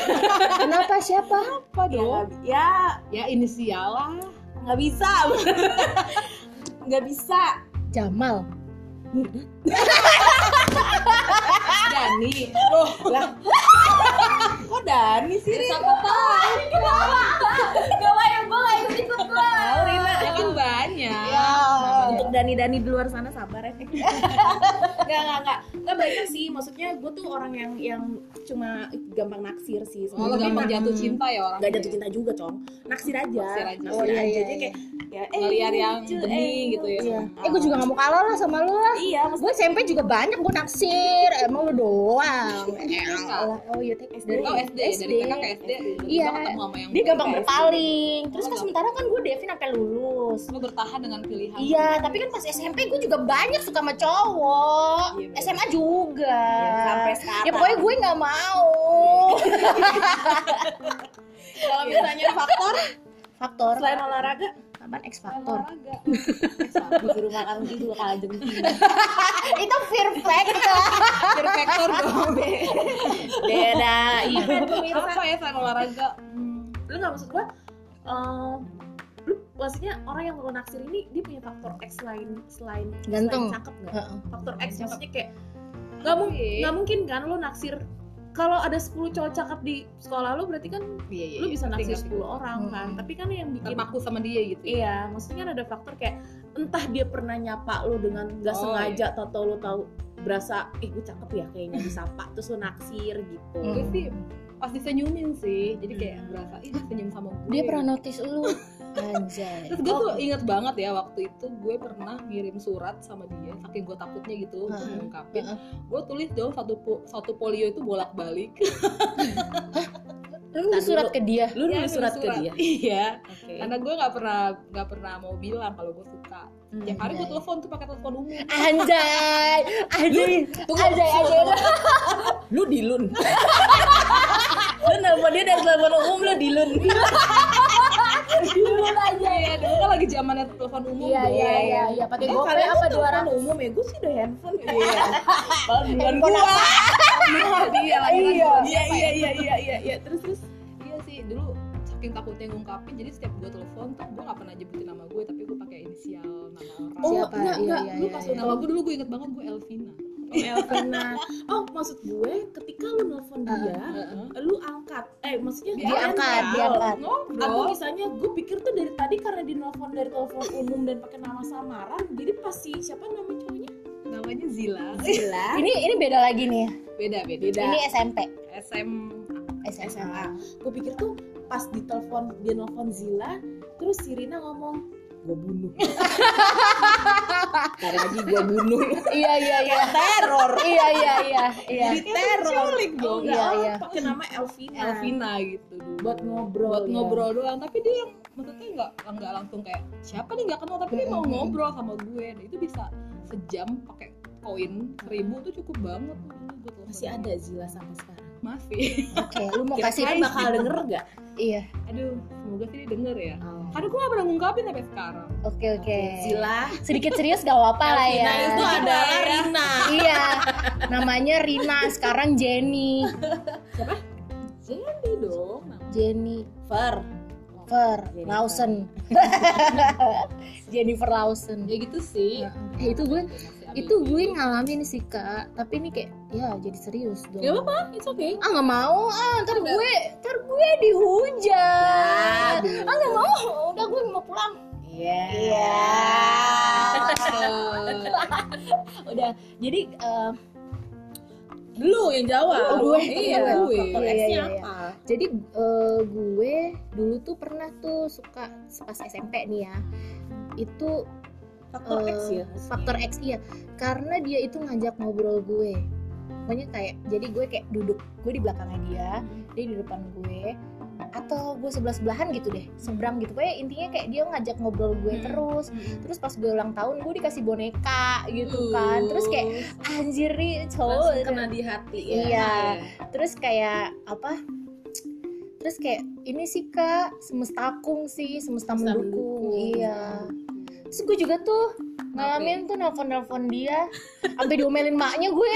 [SPEAKER 2] Kenapa siapa?
[SPEAKER 1] apa dong. Ya,
[SPEAKER 3] ya inisial lah
[SPEAKER 1] nggak bisa. nggak bisa.
[SPEAKER 2] Jamal.
[SPEAKER 3] Dani
[SPEAKER 1] Lah. Kok Dani sih? Siapa tahu?
[SPEAKER 3] ya kan banyak
[SPEAKER 1] Iya. Ya. Nah, Untuk Dani-Dani di luar sana sabar ya. Enggak, enggak, enggak. Enggak banyak sih. Maksudnya gue tuh orang yang yang cuma gampang naksir sih.
[SPEAKER 3] Oh, lo
[SPEAKER 1] Sebenarnya
[SPEAKER 3] gampang
[SPEAKER 1] mah-
[SPEAKER 3] jatuh cinta ya orang
[SPEAKER 1] nggak jatuh cinta juga, Cong. Naksir aja.
[SPEAKER 3] Naksir aja.
[SPEAKER 1] Naksir
[SPEAKER 2] Oh, iya,
[SPEAKER 1] aja.
[SPEAKER 2] iya,
[SPEAKER 1] Jadi
[SPEAKER 2] iya.
[SPEAKER 1] kayak ya
[SPEAKER 3] Ngeliat yang
[SPEAKER 1] lucu,
[SPEAKER 3] bening
[SPEAKER 1] eh,
[SPEAKER 3] gitu ya.
[SPEAKER 1] lucu.
[SPEAKER 2] Iya. Eh gue juga gak mau kalah lah sama lu lah.
[SPEAKER 1] Iya, maksudnya
[SPEAKER 2] Gue SMP juga banyak gue naksir. Emang lu doang. Elah. Oh iya, tadi
[SPEAKER 1] SD.
[SPEAKER 2] dari
[SPEAKER 3] Oh SD, dari TK ke SD
[SPEAKER 2] Iya.
[SPEAKER 3] Lo ketemu sama yang
[SPEAKER 2] Dia gampang
[SPEAKER 3] berubah.
[SPEAKER 2] berpaling. Terus kan sementara kan gue Devin sampai lulus.
[SPEAKER 3] Lo bertahan dengan pilihan
[SPEAKER 2] Iya, tapi kan pas SMP gue juga banyak suka sama cowok.
[SPEAKER 1] Iya, bener.
[SPEAKER 2] SMA juga.
[SPEAKER 1] Ya, sampai sekarang.
[SPEAKER 2] Ya pokoknya gue nggak mau.
[SPEAKER 1] kalau misalnya faktor
[SPEAKER 2] Faktor
[SPEAKER 1] selain olahraga,
[SPEAKER 2] apaan X Factor
[SPEAKER 3] olahraga
[SPEAKER 1] di rumah kamu itu kalah jengking
[SPEAKER 2] itu fear factor
[SPEAKER 3] Fear factor dong
[SPEAKER 1] beda
[SPEAKER 2] Iya,
[SPEAKER 1] ibu
[SPEAKER 3] apa ya selain olahraga
[SPEAKER 1] lu nggak maksud gua eh, lu maksudnya orang yang lu naksir ini dia punya faktor X lain selain
[SPEAKER 2] Ganteng.
[SPEAKER 1] selain cakep nggak
[SPEAKER 2] Heeh.
[SPEAKER 1] faktor X maksudnya kayak nggak mung-
[SPEAKER 3] Sih.
[SPEAKER 1] nggak mungkin kan lu naksir kalau ada 10 cowok cakep di sekolah lu berarti kan
[SPEAKER 3] Iya, iya,
[SPEAKER 1] lu bisa
[SPEAKER 3] ngerti,
[SPEAKER 1] naksir
[SPEAKER 3] ngerti.
[SPEAKER 1] 10 orang kan
[SPEAKER 2] Hmm.
[SPEAKER 1] tapi kan yang bikin
[SPEAKER 3] terpaku sama dia gitu ya.
[SPEAKER 1] Iya, maksudnya kan ada faktor kayak entah dia pernah nyapa lo dengan nggak
[SPEAKER 3] Oh,
[SPEAKER 1] sengaja atau tau lo tahu berasa ih gue cakep ya kayaknya disapa terus lo naksir gitu.
[SPEAKER 2] Hmm.
[SPEAKER 3] gue sih pasti senyumin sih jadi kayak
[SPEAKER 1] Hmm.
[SPEAKER 3] berasa ih senyum sama gue
[SPEAKER 2] dia pernah notice lu anjay
[SPEAKER 3] terus gue tuh
[SPEAKER 1] Oh.
[SPEAKER 3] inget banget ya waktu itu gue pernah ngirim surat sama dia saking gue takutnya gitu untuk
[SPEAKER 2] Heeh.
[SPEAKER 3] mengungkapin gue tulis dong satu po- satu polio itu bolak balik
[SPEAKER 2] Oh, lu
[SPEAKER 1] Ntar
[SPEAKER 2] nulis surat
[SPEAKER 1] dulu.
[SPEAKER 2] ke dia
[SPEAKER 1] Lu nulis iya, surat, ke dia.
[SPEAKER 3] iya
[SPEAKER 1] Oke.
[SPEAKER 3] karena gue nggak pernah nggak pernah mau bilang kalau gue suka
[SPEAKER 1] Hmm.
[SPEAKER 3] tiap hari gue
[SPEAKER 2] Anjay.
[SPEAKER 3] telepon tuh pakai telepon umum
[SPEAKER 2] anjay
[SPEAKER 1] Iya,
[SPEAKER 2] anjay anjay anjay
[SPEAKER 1] Lu dilun. lu nelfon dia dari telepon umum lu dilun.
[SPEAKER 3] dulu aja ya dulu kan lagi zamannya telepon umum
[SPEAKER 2] iya
[SPEAKER 3] dong.
[SPEAKER 2] iya iya iya pakai
[SPEAKER 1] Eh,
[SPEAKER 2] gopay
[SPEAKER 1] kalian
[SPEAKER 2] apa
[SPEAKER 1] tuh
[SPEAKER 2] dua
[SPEAKER 1] telepon umum ya, gue sih udah handphone. Iya.
[SPEAKER 3] Bukan gua Nah, dia lagi lagi
[SPEAKER 1] Iya,
[SPEAKER 3] bukan
[SPEAKER 1] iya,
[SPEAKER 3] siapa
[SPEAKER 1] iya,
[SPEAKER 3] ya.
[SPEAKER 1] iya, iya, iya, iya, terus terus.
[SPEAKER 3] Iya sih, dulu saking takutnya ngungkapin, jadi setiap gue telepon tuh gue gak pernah nyebutin nama gue, tapi gue pakai inisial nama orang.
[SPEAKER 1] Oh,
[SPEAKER 2] Siapa?
[SPEAKER 1] enggak,
[SPEAKER 2] Iya,
[SPEAKER 1] enggak.
[SPEAKER 2] iya,
[SPEAKER 1] Lu
[SPEAKER 2] iya,
[SPEAKER 1] pas
[SPEAKER 2] iya.
[SPEAKER 1] lu
[SPEAKER 3] nama gue dulu gue inget banget gue Elvina.
[SPEAKER 1] Oh, Elvina. Oh, maksud gue ketika lu nelfon dia,
[SPEAKER 3] Heeh.
[SPEAKER 1] lu angkat. Eh, maksudnya
[SPEAKER 3] Dia
[SPEAKER 1] kalian
[SPEAKER 2] angkat,
[SPEAKER 1] tahu.
[SPEAKER 2] dia angkat.
[SPEAKER 1] Atau
[SPEAKER 3] Ngobrol.
[SPEAKER 1] misalnya gue pikir tuh dari tadi karena di nelfon dari telepon umum dan pakai nama samaran, jadi pasti siapa nama cowoknya?
[SPEAKER 3] Namanya Zila.
[SPEAKER 1] Gila.
[SPEAKER 2] ini ini beda lagi nih
[SPEAKER 3] Beda beda.
[SPEAKER 1] Beda.
[SPEAKER 2] ini SMP
[SPEAKER 3] SM.
[SPEAKER 2] Nah.
[SPEAKER 1] SMA. Gue Nah, pikir tuh pas di telepon dia nelfon Zila, terus Sirina ngomong gue bunuh. Ntar lagi gue bunuh.
[SPEAKER 2] iya iya iya
[SPEAKER 1] Teror.
[SPEAKER 2] iya iya iya iya
[SPEAKER 1] Jadi teror.
[SPEAKER 3] Culik
[SPEAKER 1] Oh,
[SPEAKER 3] dong.
[SPEAKER 1] enggak,
[SPEAKER 2] Iya, iya.
[SPEAKER 1] pakai nama Elvina.
[SPEAKER 3] Elvina gitu dulu.
[SPEAKER 1] Buat ngobrol.
[SPEAKER 3] buat
[SPEAKER 1] ya.
[SPEAKER 3] ngobrol doang tapi dia yang maksudnya nggak nggak langsung kayak siapa nih nggak kenal tapi dia mau
[SPEAKER 2] Mm-mm.
[SPEAKER 3] ngobrol sama gue nah, itu bisa sejam pakai koin seribu tuh cukup banget tuh dulu gue telepon.
[SPEAKER 1] Masih ada Zila sampai sekarang.
[SPEAKER 3] masih
[SPEAKER 2] oke lu mau
[SPEAKER 1] Kasih
[SPEAKER 2] kasih gitu?
[SPEAKER 1] bakal denger gak?
[SPEAKER 2] iya
[SPEAKER 3] aduh semoga sih dia denger ya
[SPEAKER 1] Oh.
[SPEAKER 3] karena gue gak pernah ngungkapin sampai sekarang
[SPEAKER 2] oke oke
[SPEAKER 1] Zila.
[SPEAKER 2] sedikit serius gak apa-apa lah ya
[SPEAKER 1] Elvina Nah, itu adalah Rina.
[SPEAKER 2] iya namanya Rina sekarang Jenny
[SPEAKER 1] Jadi Iya dong.
[SPEAKER 2] Jenny
[SPEAKER 1] Fer.
[SPEAKER 2] Fer
[SPEAKER 1] Jennifer.
[SPEAKER 2] Lawson Jennifer Lawson
[SPEAKER 3] ya gitu sih
[SPEAKER 2] Nah, eh, itu gue-
[SPEAKER 3] Masih ada
[SPEAKER 2] itu gue ngalamin sih kak tapi ini kayak ya jadi serius dong
[SPEAKER 3] Gak apa-apa, it's okay
[SPEAKER 2] ah nggak mau ah ntar gue ntar gue dihujat ah nggak mau udah gue mau pulang
[SPEAKER 1] Iya.
[SPEAKER 2] udah jadi eh,
[SPEAKER 1] Lu yang jawab.
[SPEAKER 2] Lu, gue.
[SPEAKER 1] Iya,
[SPEAKER 3] Gue.
[SPEAKER 1] Faktor
[SPEAKER 2] Iya,
[SPEAKER 1] X-nya
[SPEAKER 2] iya, iya.
[SPEAKER 1] apa?
[SPEAKER 2] jadi eh, gue dulu tuh pernah tuh suka pas SMP nih ya itu
[SPEAKER 1] Faktor X
[SPEAKER 2] eh,
[SPEAKER 1] ya.
[SPEAKER 2] faktor X iya karena dia itu ngajak ngobrol gue pokoknya kayak jadi gue kayak duduk gue di belakangnya dia dia di depan gue atau gue sebelah sebelahan gitu deh seberang gitu kayak intinya kayak dia ngajak ngobrol gue
[SPEAKER 3] Hmm.
[SPEAKER 2] terus terus pas gue ulang tahun gue dikasih boneka gitu kan terus kayak anjir nih cowok gitu.
[SPEAKER 1] Langsung kena di hati ya.
[SPEAKER 2] Iya. terus kayak apa terus kayak ini sih kak semestakung sih semesta,
[SPEAKER 1] Semesta mendukung.
[SPEAKER 2] mendukung. iya terus gue juga tuh ngalamin tuh nelfon nelfon dia sampai diomelin maknya gue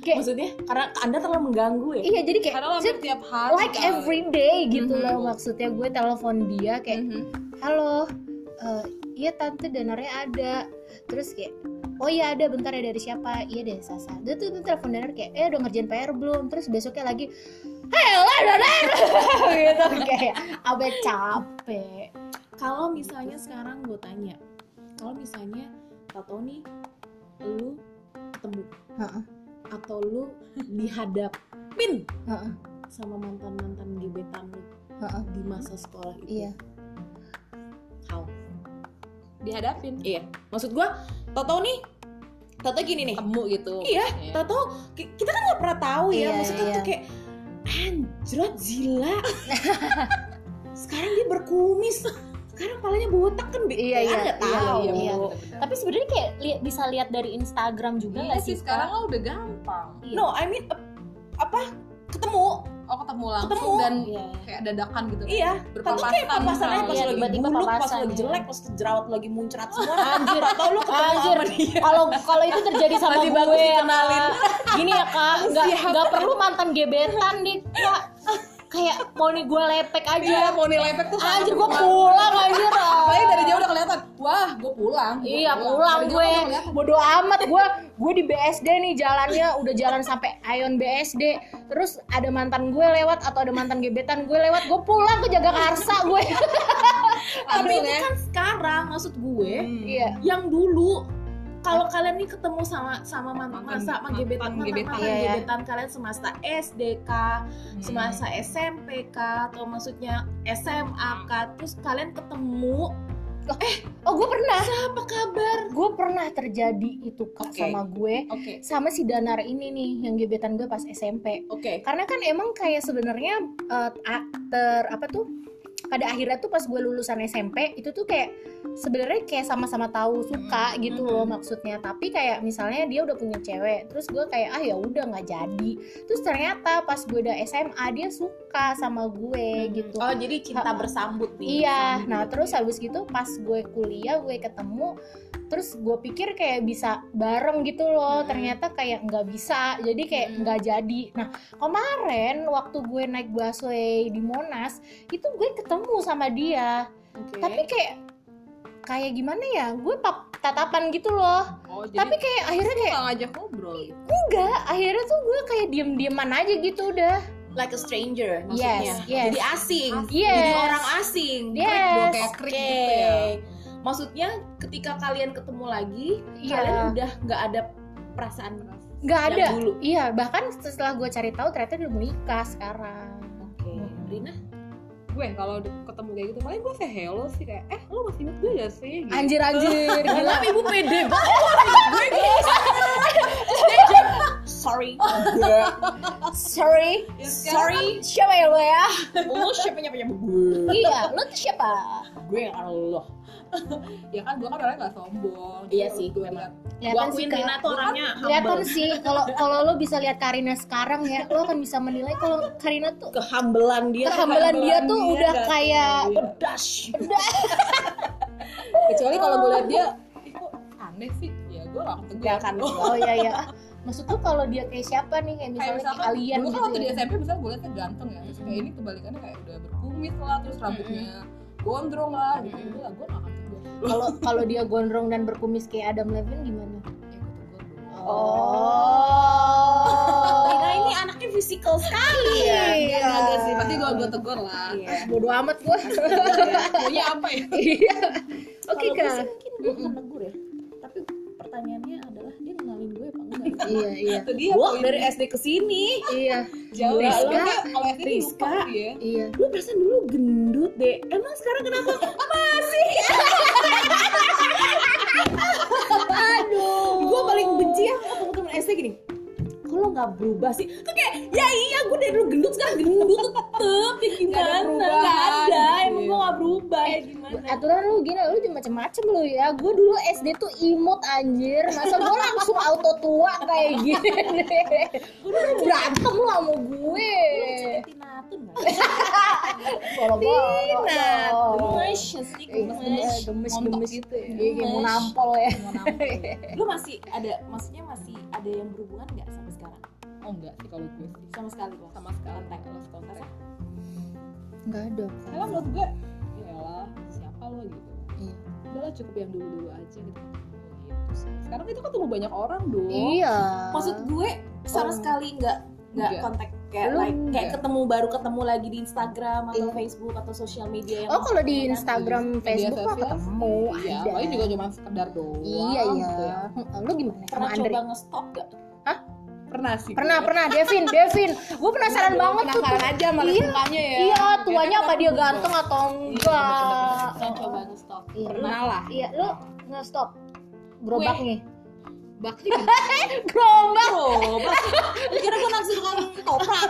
[SPEAKER 2] kayak
[SPEAKER 1] Maksudnya karena Anda terlalu mengganggu ya.
[SPEAKER 2] iya jadi kayak
[SPEAKER 3] Karena
[SPEAKER 2] "Sit,
[SPEAKER 3] hampir tiap hari kan.
[SPEAKER 2] like
[SPEAKER 3] kali.
[SPEAKER 2] every day gitu
[SPEAKER 3] Mhm.
[SPEAKER 2] loh maksudnya gue telepon dia kayak
[SPEAKER 3] Mhm.
[SPEAKER 2] halo eh, iya tante donornya ada terus kayak oh iya ada bentar ya dari siapa iya deh Sasa dia tuh, tuh telepon donor kayak eh udah ngerjain PR belum terus besoknya lagi hei lah donor gitu kayak abe capek
[SPEAKER 1] Kalau misalnya sekarang gue tanya, kalau misalnya tato nih lu ketemu
[SPEAKER 2] Heeh.
[SPEAKER 1] atau lu dihadapin
[SPEAKER 2] Heeh.
[SPEAKER 1] sama mantan mantan gebetan lu
[SPEAKER 2] Heeh.
[SPEAKER 1] di masa sekolah itu
[SPEAKER 2] iya
[SPEAKER 1] How?
[SPEAKER 3] Dihadapin
[SPEAKER 1] Iya. Maksud gua, Toto nih, Toto gini nih.
[SPEAKER 3] Ketemu gitu
[SPEAKER 1] Iya,
[SPEAKER 3] maksudnya.
[SPEAKER 1] Toto, ki- kita kan nggak pernah tahu ya.
[SPEAKER 2] Iya,
[SPEAKER 1] Maksudnya
[SPEAKER 2] iya.
[SPEAKER 1] tuh kayak anjrot zila. Sekarang dia berkumis. Sekarang palanya botak kan bi-
[SPEAKER 2] Iya,
[SPEAKER 1] kita
[SPEAKER 2] iya,
[SPEAKER 1] nggak
[SPEAKER 2] iya,
[SPEAKER 1] tahu.
[SPEAKER 2] iya, iya. tapi sebenarnya kayak lihat bisa lihat dari Instagram juga
[SPEAKER 3] Iya
[SPEAKER 2] nggak
[SPEAKER 3] sih
[SPEAKER 2] sih
[SPEAKER 3] sekarang
[SPEAKER 2] Kak?
[SPEAKER 3] lah udah gampang
[SPEAKER 2] Iya.
[SPEAKER 1] No, I mean ap- apa ketemu
[SPEAKER 3] oh ketemu langsung
[SPEAKER 1] Ketemu.
[SPEAKER 3] dan
[SPEAKER 2] Iya.
[SPEAKER 3] kayak dadakan gitu kan?
[SPEAKER 1] iya tapi kayak
[SPEAKER 3] Berpapasan
[SPEAKER 1] papasannya
[SPEAKER 3] kali.
[SPEAKER 1] pas
[SPEAKER 2] Iya,
[SPEAKER 1] lagi
[SPEAKER 2] tiba-tiba
[SPEAKER 1] buluk pas
[SPEAKER 2] papasan,
[SPEAKER 1] lagi
[SPEAKER 2] ya.
[SPEAKER 1] jelek pas jerawat lagi muncrat semua
[SPEAKER 2] Anjir.
[SPEAKER 1] atau lu ketemu
[SPEAKER 2] Anjir.
[SPEAKER 1] sama dia
[SPEAKER 2] Kalau kalau itu terjadi sama
[SPEAKER 1] Masih bagus
[SPEAKER 2] gue ya,
[SPEAKER 1] dikenalin.
[SPEAKER 2] Kak. Gini ya Kak, nggak nggak perlu mantan gebetan dik Kak. Kayak mau nih gue lepek
[SPEAKER 3] iya
[SPEAKER 2] aja.
[SPEAKER 3] mau nilai pek tuh
[SPEAKER 2] Anjir gue pulang anjir.
[SPEAKER 3] Apalagi dari jauh udah kelihatan wah gue pulang gua
[SPEAKER 2] Iya pulang
[SPEAKER 3] Dari jauh
[SPEAKER 2] gue
[SPEAKER 3] udah kelihatan.
[SPEAKER 2] bodo amat gue gue di BSD nih jalannya udah jalan sampai Ion BSD terus ada mantan gue lewat atau ada mantan gebetan gue lewat gue pulang ke jaga karsa gue
[SPEAKER 1] tapi
[SPEAKER 3] Aduh,
[SPEAKER 1] ini
[SPEAKER 3] ya.
[SPEAKER 1] kan sekarang maksud gue
[SPEAKER 3] Hmm.
[SPEAKER 2] iya
[SPEAKER 1] yang dulu kalau kalian nih ketemu sama sama man-
[SPEAKER 3] Mantan-
[SPEAKER 1] masa sama
[SPEAKER 3] mantan
[SPEAKER 1] gebetan mantan
[SPEAKER 3] gebetan.
[SPEAKER 1] mantan
[SPEAKER 2] Iya, ya.
[SPEAKER 1] gebetan kalian semasa SD k
[SPEAKER 3] Hmm.
[SPEAKER 1] semasa SMP k atau maksudnya SMA
[SPEAKER 3] Hmm.
[SPEAKER 1] k terus kalian ketemu
[SPEAKER 2] oh gue pernah
[SPEAKER 1] apa kabar
[SPEAKER 2] gue pernah terjadi itu kak
[SPEAKER 3] Oke.
[SPEAKER 2] sama gue
[SPEAKER 1] oke
[SPEAKER 2] sama si Danar ini nih yang gebetan gue pas SMP
[SPEAKER 1] oke
[SPEAKER 2] karena kan emang kayak sebenarnya eh, a- ter apa tuh pada akhirnya tuh pas gue lulusan SMP itu tuh kayak sebenarnya kayak sama-sama tahu suka
[SPEAKER 3] Hmm,
[SPEAKER 2] gitu
[SPEAKER 3] hmm.
[SPEAKER 2] loh maksudnya tapi kayak misalnya dia udah punya cewek terus gue kayak ah ya udah nggak jadi terus ternyata pas gue udah SMA dia suka sama
[SPEAKER 3] Hmm,
[SPEAKER 2] gue gitu
[SPEAKER 1] oh jadi cinta
[SPEAKER 2] Ha-
[SPEAKER 1] bersambut nih
[SPEAKER 2] Iya,
[SPEAKER 1] Bersambut.
[SPEAKER 2] nah terus habis gitu pas gue kuliah gue ketemu terus gue pikir kayak bisa bareng gitu loh,
[SPEAKER 3] Mm-mm.
[SPEAKER 2] ternyata kayak nggak bisa. Jadi kayak
[SPEAKER 3] Mm-mm.
[SPEAKER 2] nggak jadi. Nah, kemarin waktu gue naik busway di Monas, itu gue ketemu sama dia.
[SPEAKER 1] Oke.
[SPEAKER 2] Nah, Tapi kayak kayak gimana ya? Gue pap- tatapan gitu loh.
[SPEAKER 3] oh, jadi
[SPEAKER 2] Tapi kayak akhirnya kayak
[SPEAKER 3] nggak ngajak ngobrol gitu.
[SPEAKER 2] enggak, akhirnya tuh gue kayak diem-dieman aja gitu udah.
[SPEAKER 1] like a stranger
[SPEAKER 2] Yes,
[SPEAKER 1] maksudnya
[SPEAKER 2] yes.
[SPEAKER 1] jadi asing
[SPEAKER 2] Yes.
[SPEAKER 1] jadi orang asing
[SPEAKER 3] Krik dong,
[SPEAKER 2] Yes.
[SPEAKER 3] kayak krik gitu
[SPEAKER 1] Oke.
[SPEAKER 3] ya
[SPEAKER 1] maksudnya ketika kalian ketemu lagi
[SPEAKER 2] Iya.
[SPEAKER 1] kalian udah nggak ada perasaan
[SPEAKER 2] Nggak
[SPEAKER 1] yang
[SPEAKER 2] ada.
[SPEAKER 1] dulu
[SPEAKER 2] Iya, bahkan setelah gue cari tahu ternyata dia udah menikah sekarang.
[SPEAKER 1] oke
[SPEAKER 2] Hmm.
[SPEAKER 1] Rina
[SPEAKER 3] gue kalau di- ketemu kayak gitu paling gue say hello sih kayak eh lu masih inget gue gak sih gitu.
[SPEAKER 2] Anjir anjir gila.
[SPEAKER 1] Tapi ibu pede banget Sorry
[SPEAKER 2] Oh,
[SPEAKER 1] Sorry
[SPEAKER 3] Ya, sekarang
[SPEAKER 1] Sorry
[SPEAKER 2] Siapa ya lo ya?
[SPEAKER 1] Lu siapa nyapa nyapa gue
[SPEAKER 2] Iya, lo tuh siapa?
[SPEAKER 1] Gue Allah
[SPEAKER 3] ya kan gue kan orangnya gak sombong gitu.
[SPEAKER 1] Iya
[SPEAKER 3] Jadi
[SPEAKER 1] sih,
[SPEAKER 3] gue
[SPEAKER 1] emang.
[SPEAKER 3] liat,
[SPEAKER 1] Gue akuin Rina tuh orangnya
[SPEAKER 2] Kelihatan
[SPEAKER 1] humble
[SPEAKER 2] sih kalau kalau lo bisa lihat Karina sekarang ya, lo akan bisa menilai kalau Karina tuh
[SPEAKER 1] Kehambelan dia tuh
[SPEAKER 2] kehambelan dia tuh
[SPEAKER 3] dia
[SPEAKER 2] udah
[SPEAKER 3] udah
[SPEAKER 2] kayak
[SPEAKER 1] Pedas
[SPEAKER 3] kecuali kalau gue liat dia ih kok aneh sih ya gue langsung tegur
[SPEAKER 1] Gak akan
[SPEAKER 3] Gua-
[SPEAKER 2] Oh iya iya. Maksud tuh kalau dia kayak siapa nih kayak
[SPEAKER 3] kayak
[SPEAKER 2] misalnya kayak
[SPEAKER 3] misalkan
[SPEAKER 2] alien
[SPEAKER 3] dulu kan
[SPEAKER 2] gitu.
[SPEAKER 3] waktu di
[SPEAKER 2] ya.
[SPEAKER 3] SMP misalnya gue liatnya ganteng ya terus kayak ini kebalikannya kayak udah berkumis lah terus rambutnya gondrong lah gitu gitu lah gue gak akan tegur ya
[SPEAKER 2] Kalau kalau dia gondrong dan berkumis kayak Adam Levine gimana?
[SPEAKER 3] gue tegur dulu.
[SPEAKER 2] Oh.
[SPEAKER 1] Rina ini anaknya fisikal sekali ya
[SPEAKER 2] Iya.
[SPEAKER 3] Iya, kagak sih, pasti gue gue tegur lah.
[SPEAKER 1] Iya
[SPEAKER 2] bodo amat gue.
[SPEAKER 3] Punya apa ya?
[SPEAKER 2] Iya. Oke,
[SPEAKER 1] Kalau gue
[SPEAKER 2] Kak.
[SPEAKER 1] sih mungkin gue bukan negur ya Tapi pertanyaannya adalah Dia ngenalin gue apa enggak
[SPEAKER 2] Iya, iya.
[SPEAKER 3] Itu dia.
[SPEAKER 1] Wah
[SPEAKER 3] poin.
[SPEAKER 1] dari SD ke sini
[SPEAKER 2] Iya,
[SPEAKER 3] jauh ya. Lo
[SPEAKER 2] Rizka.
[SPEAKER 3] kayak kalau SD lupa
[SPEAKER 1] Rizka.
[SPEAKER 3] sih ya.
[SPEAKER 2] iya.
[SPEAKER 1] lu perasaan dulu gendut deh emang sekarang kenapa masih aduh gue paling benci ya sama temen-temen SD gini kalau nggak berubah sih tuh kayak ya iya gue dari dulu gendut sekarang gendut tetep ya
[SPEAKER 3] Nggak ada
[SPEAKER 1] gimana nggak ada
[SPEAKER 3] perubahan, gitu Eh,
[SPEAKER 1] emang
[SPEAKER 3] ya.
[SPEAKER 1] gue nggak berubah ya gimana
[SPEAKER 2] aturan lu gini lu juga macem-macem lu ya gue dulu SD tuh imut anjir masa gue langsung auto tua kayak gini lu berantem lu sama gue
[SPEAKER 1] tinatun
[SPEAKER 2] Tina
[SPEAKER 3] Eh,
[SPEAKER 1] gemes sih
[SPEAKER 3] Eh,
[SPEAKER 1] ya? gemes
[SPEAKER 2] gemes
[SPEAKER 3] Montok
[SPEAKER 2] gemes
[SPEAKER 3] gitu ya.
[SPEAKER 2] Iya, kayak mau nampol ya
[SPEAKER 3] Mau nampol ya.
[SPEAKER 1] lu masih ada maksudnya masih ada yang berhubungan nggak sampai sekarang
[SPEAKER 3] Oh enggak sih kalau gue sih.
[SPEAKER 1] sama sekali loh
[SPEAKER 3] Sama sekali
[SPEAKER 1] kontak
[SPEAKER 3] lost contact.
[SPEAKER 2] nggak ada
[SPEAKER 3] ya. Karena menurut gue ya lah siapa lo gitu. Udahlah cukup yang dulu-dulu aja gitu. Gitu sih. Sekarang itu ketemu banyak orang dong.
[SPEAKER 2] iya
[SPEAKER 1] maksud gue sama
[SPEAKER 2] Oh.
[SPEAKER 1] sekali nggak nggak
[SPEAKER 3] Nggak.
[SPEAKER 1] kontak kayak
[SPEAKER 3] Lu
[SPEAKER 1] like kayak
[SPEAKER 3] nggak.
[SPEAKER 1] ketemu baru ketemu lagi di Instagram atau
[SPEAKER 2] Iya.
[SPEAKER 1] Facebook atau sosial media yang
[SPEAKER 2] oh kalau di Instagram
[SPEAKER 3] Media
[SPEAKER 2] Facebook mah
[SPEAKER 3] sosial
[SPEAKER 2] ketemu
[SPEAKER 3] Iya,
[SPEAKER 2] ada
[SPEAKER 3] paling juga cuma sekedar doang.
[SPEAKER 2] iya iya
[SPEAKER 3] gitu ya.
[SPEAKER 2] lu gimana
[SPEAKER 1] pernah
[SPEAKER 2] sama Andre
[SPEAKER 1] coba nge-stalk gak?
[SPEAKER 3] Pernah sih.
[SPEAKER 2] pernah
[SPEAKER 3] gue.
[SPEAKER 2] pernah Devin Devin gue penasaran
[SPEAKER 3] Gue
[SPEAKER 2] banget tuh
[SPEAKER 3] Penasaran aja sama
[SPEAKER 2] Iya,
[SPEAKER 3] mukanya ya.
[SPEAKER 2] Iya, tuanya
[SPEAKER 3] Biasanya
[SPEAKER 2] apa dia
[SPEAKER 3] orang
[SPEAKER 2] ganteng atau enggak?
[SPEAKER 1] Pernah coba nge-stalk.
[SPEAKER 2] Iya,
[SPEAKER 3] Pernah lah.
[SPEAKER 2] Iya, lu nge-stop gerobaknya.
[SPEAKER 3] Bakti kan?
[SPEAKER 2] Gerobak,
[SPEAKER 1] Coba sih, kira gue nafsu tukang toprak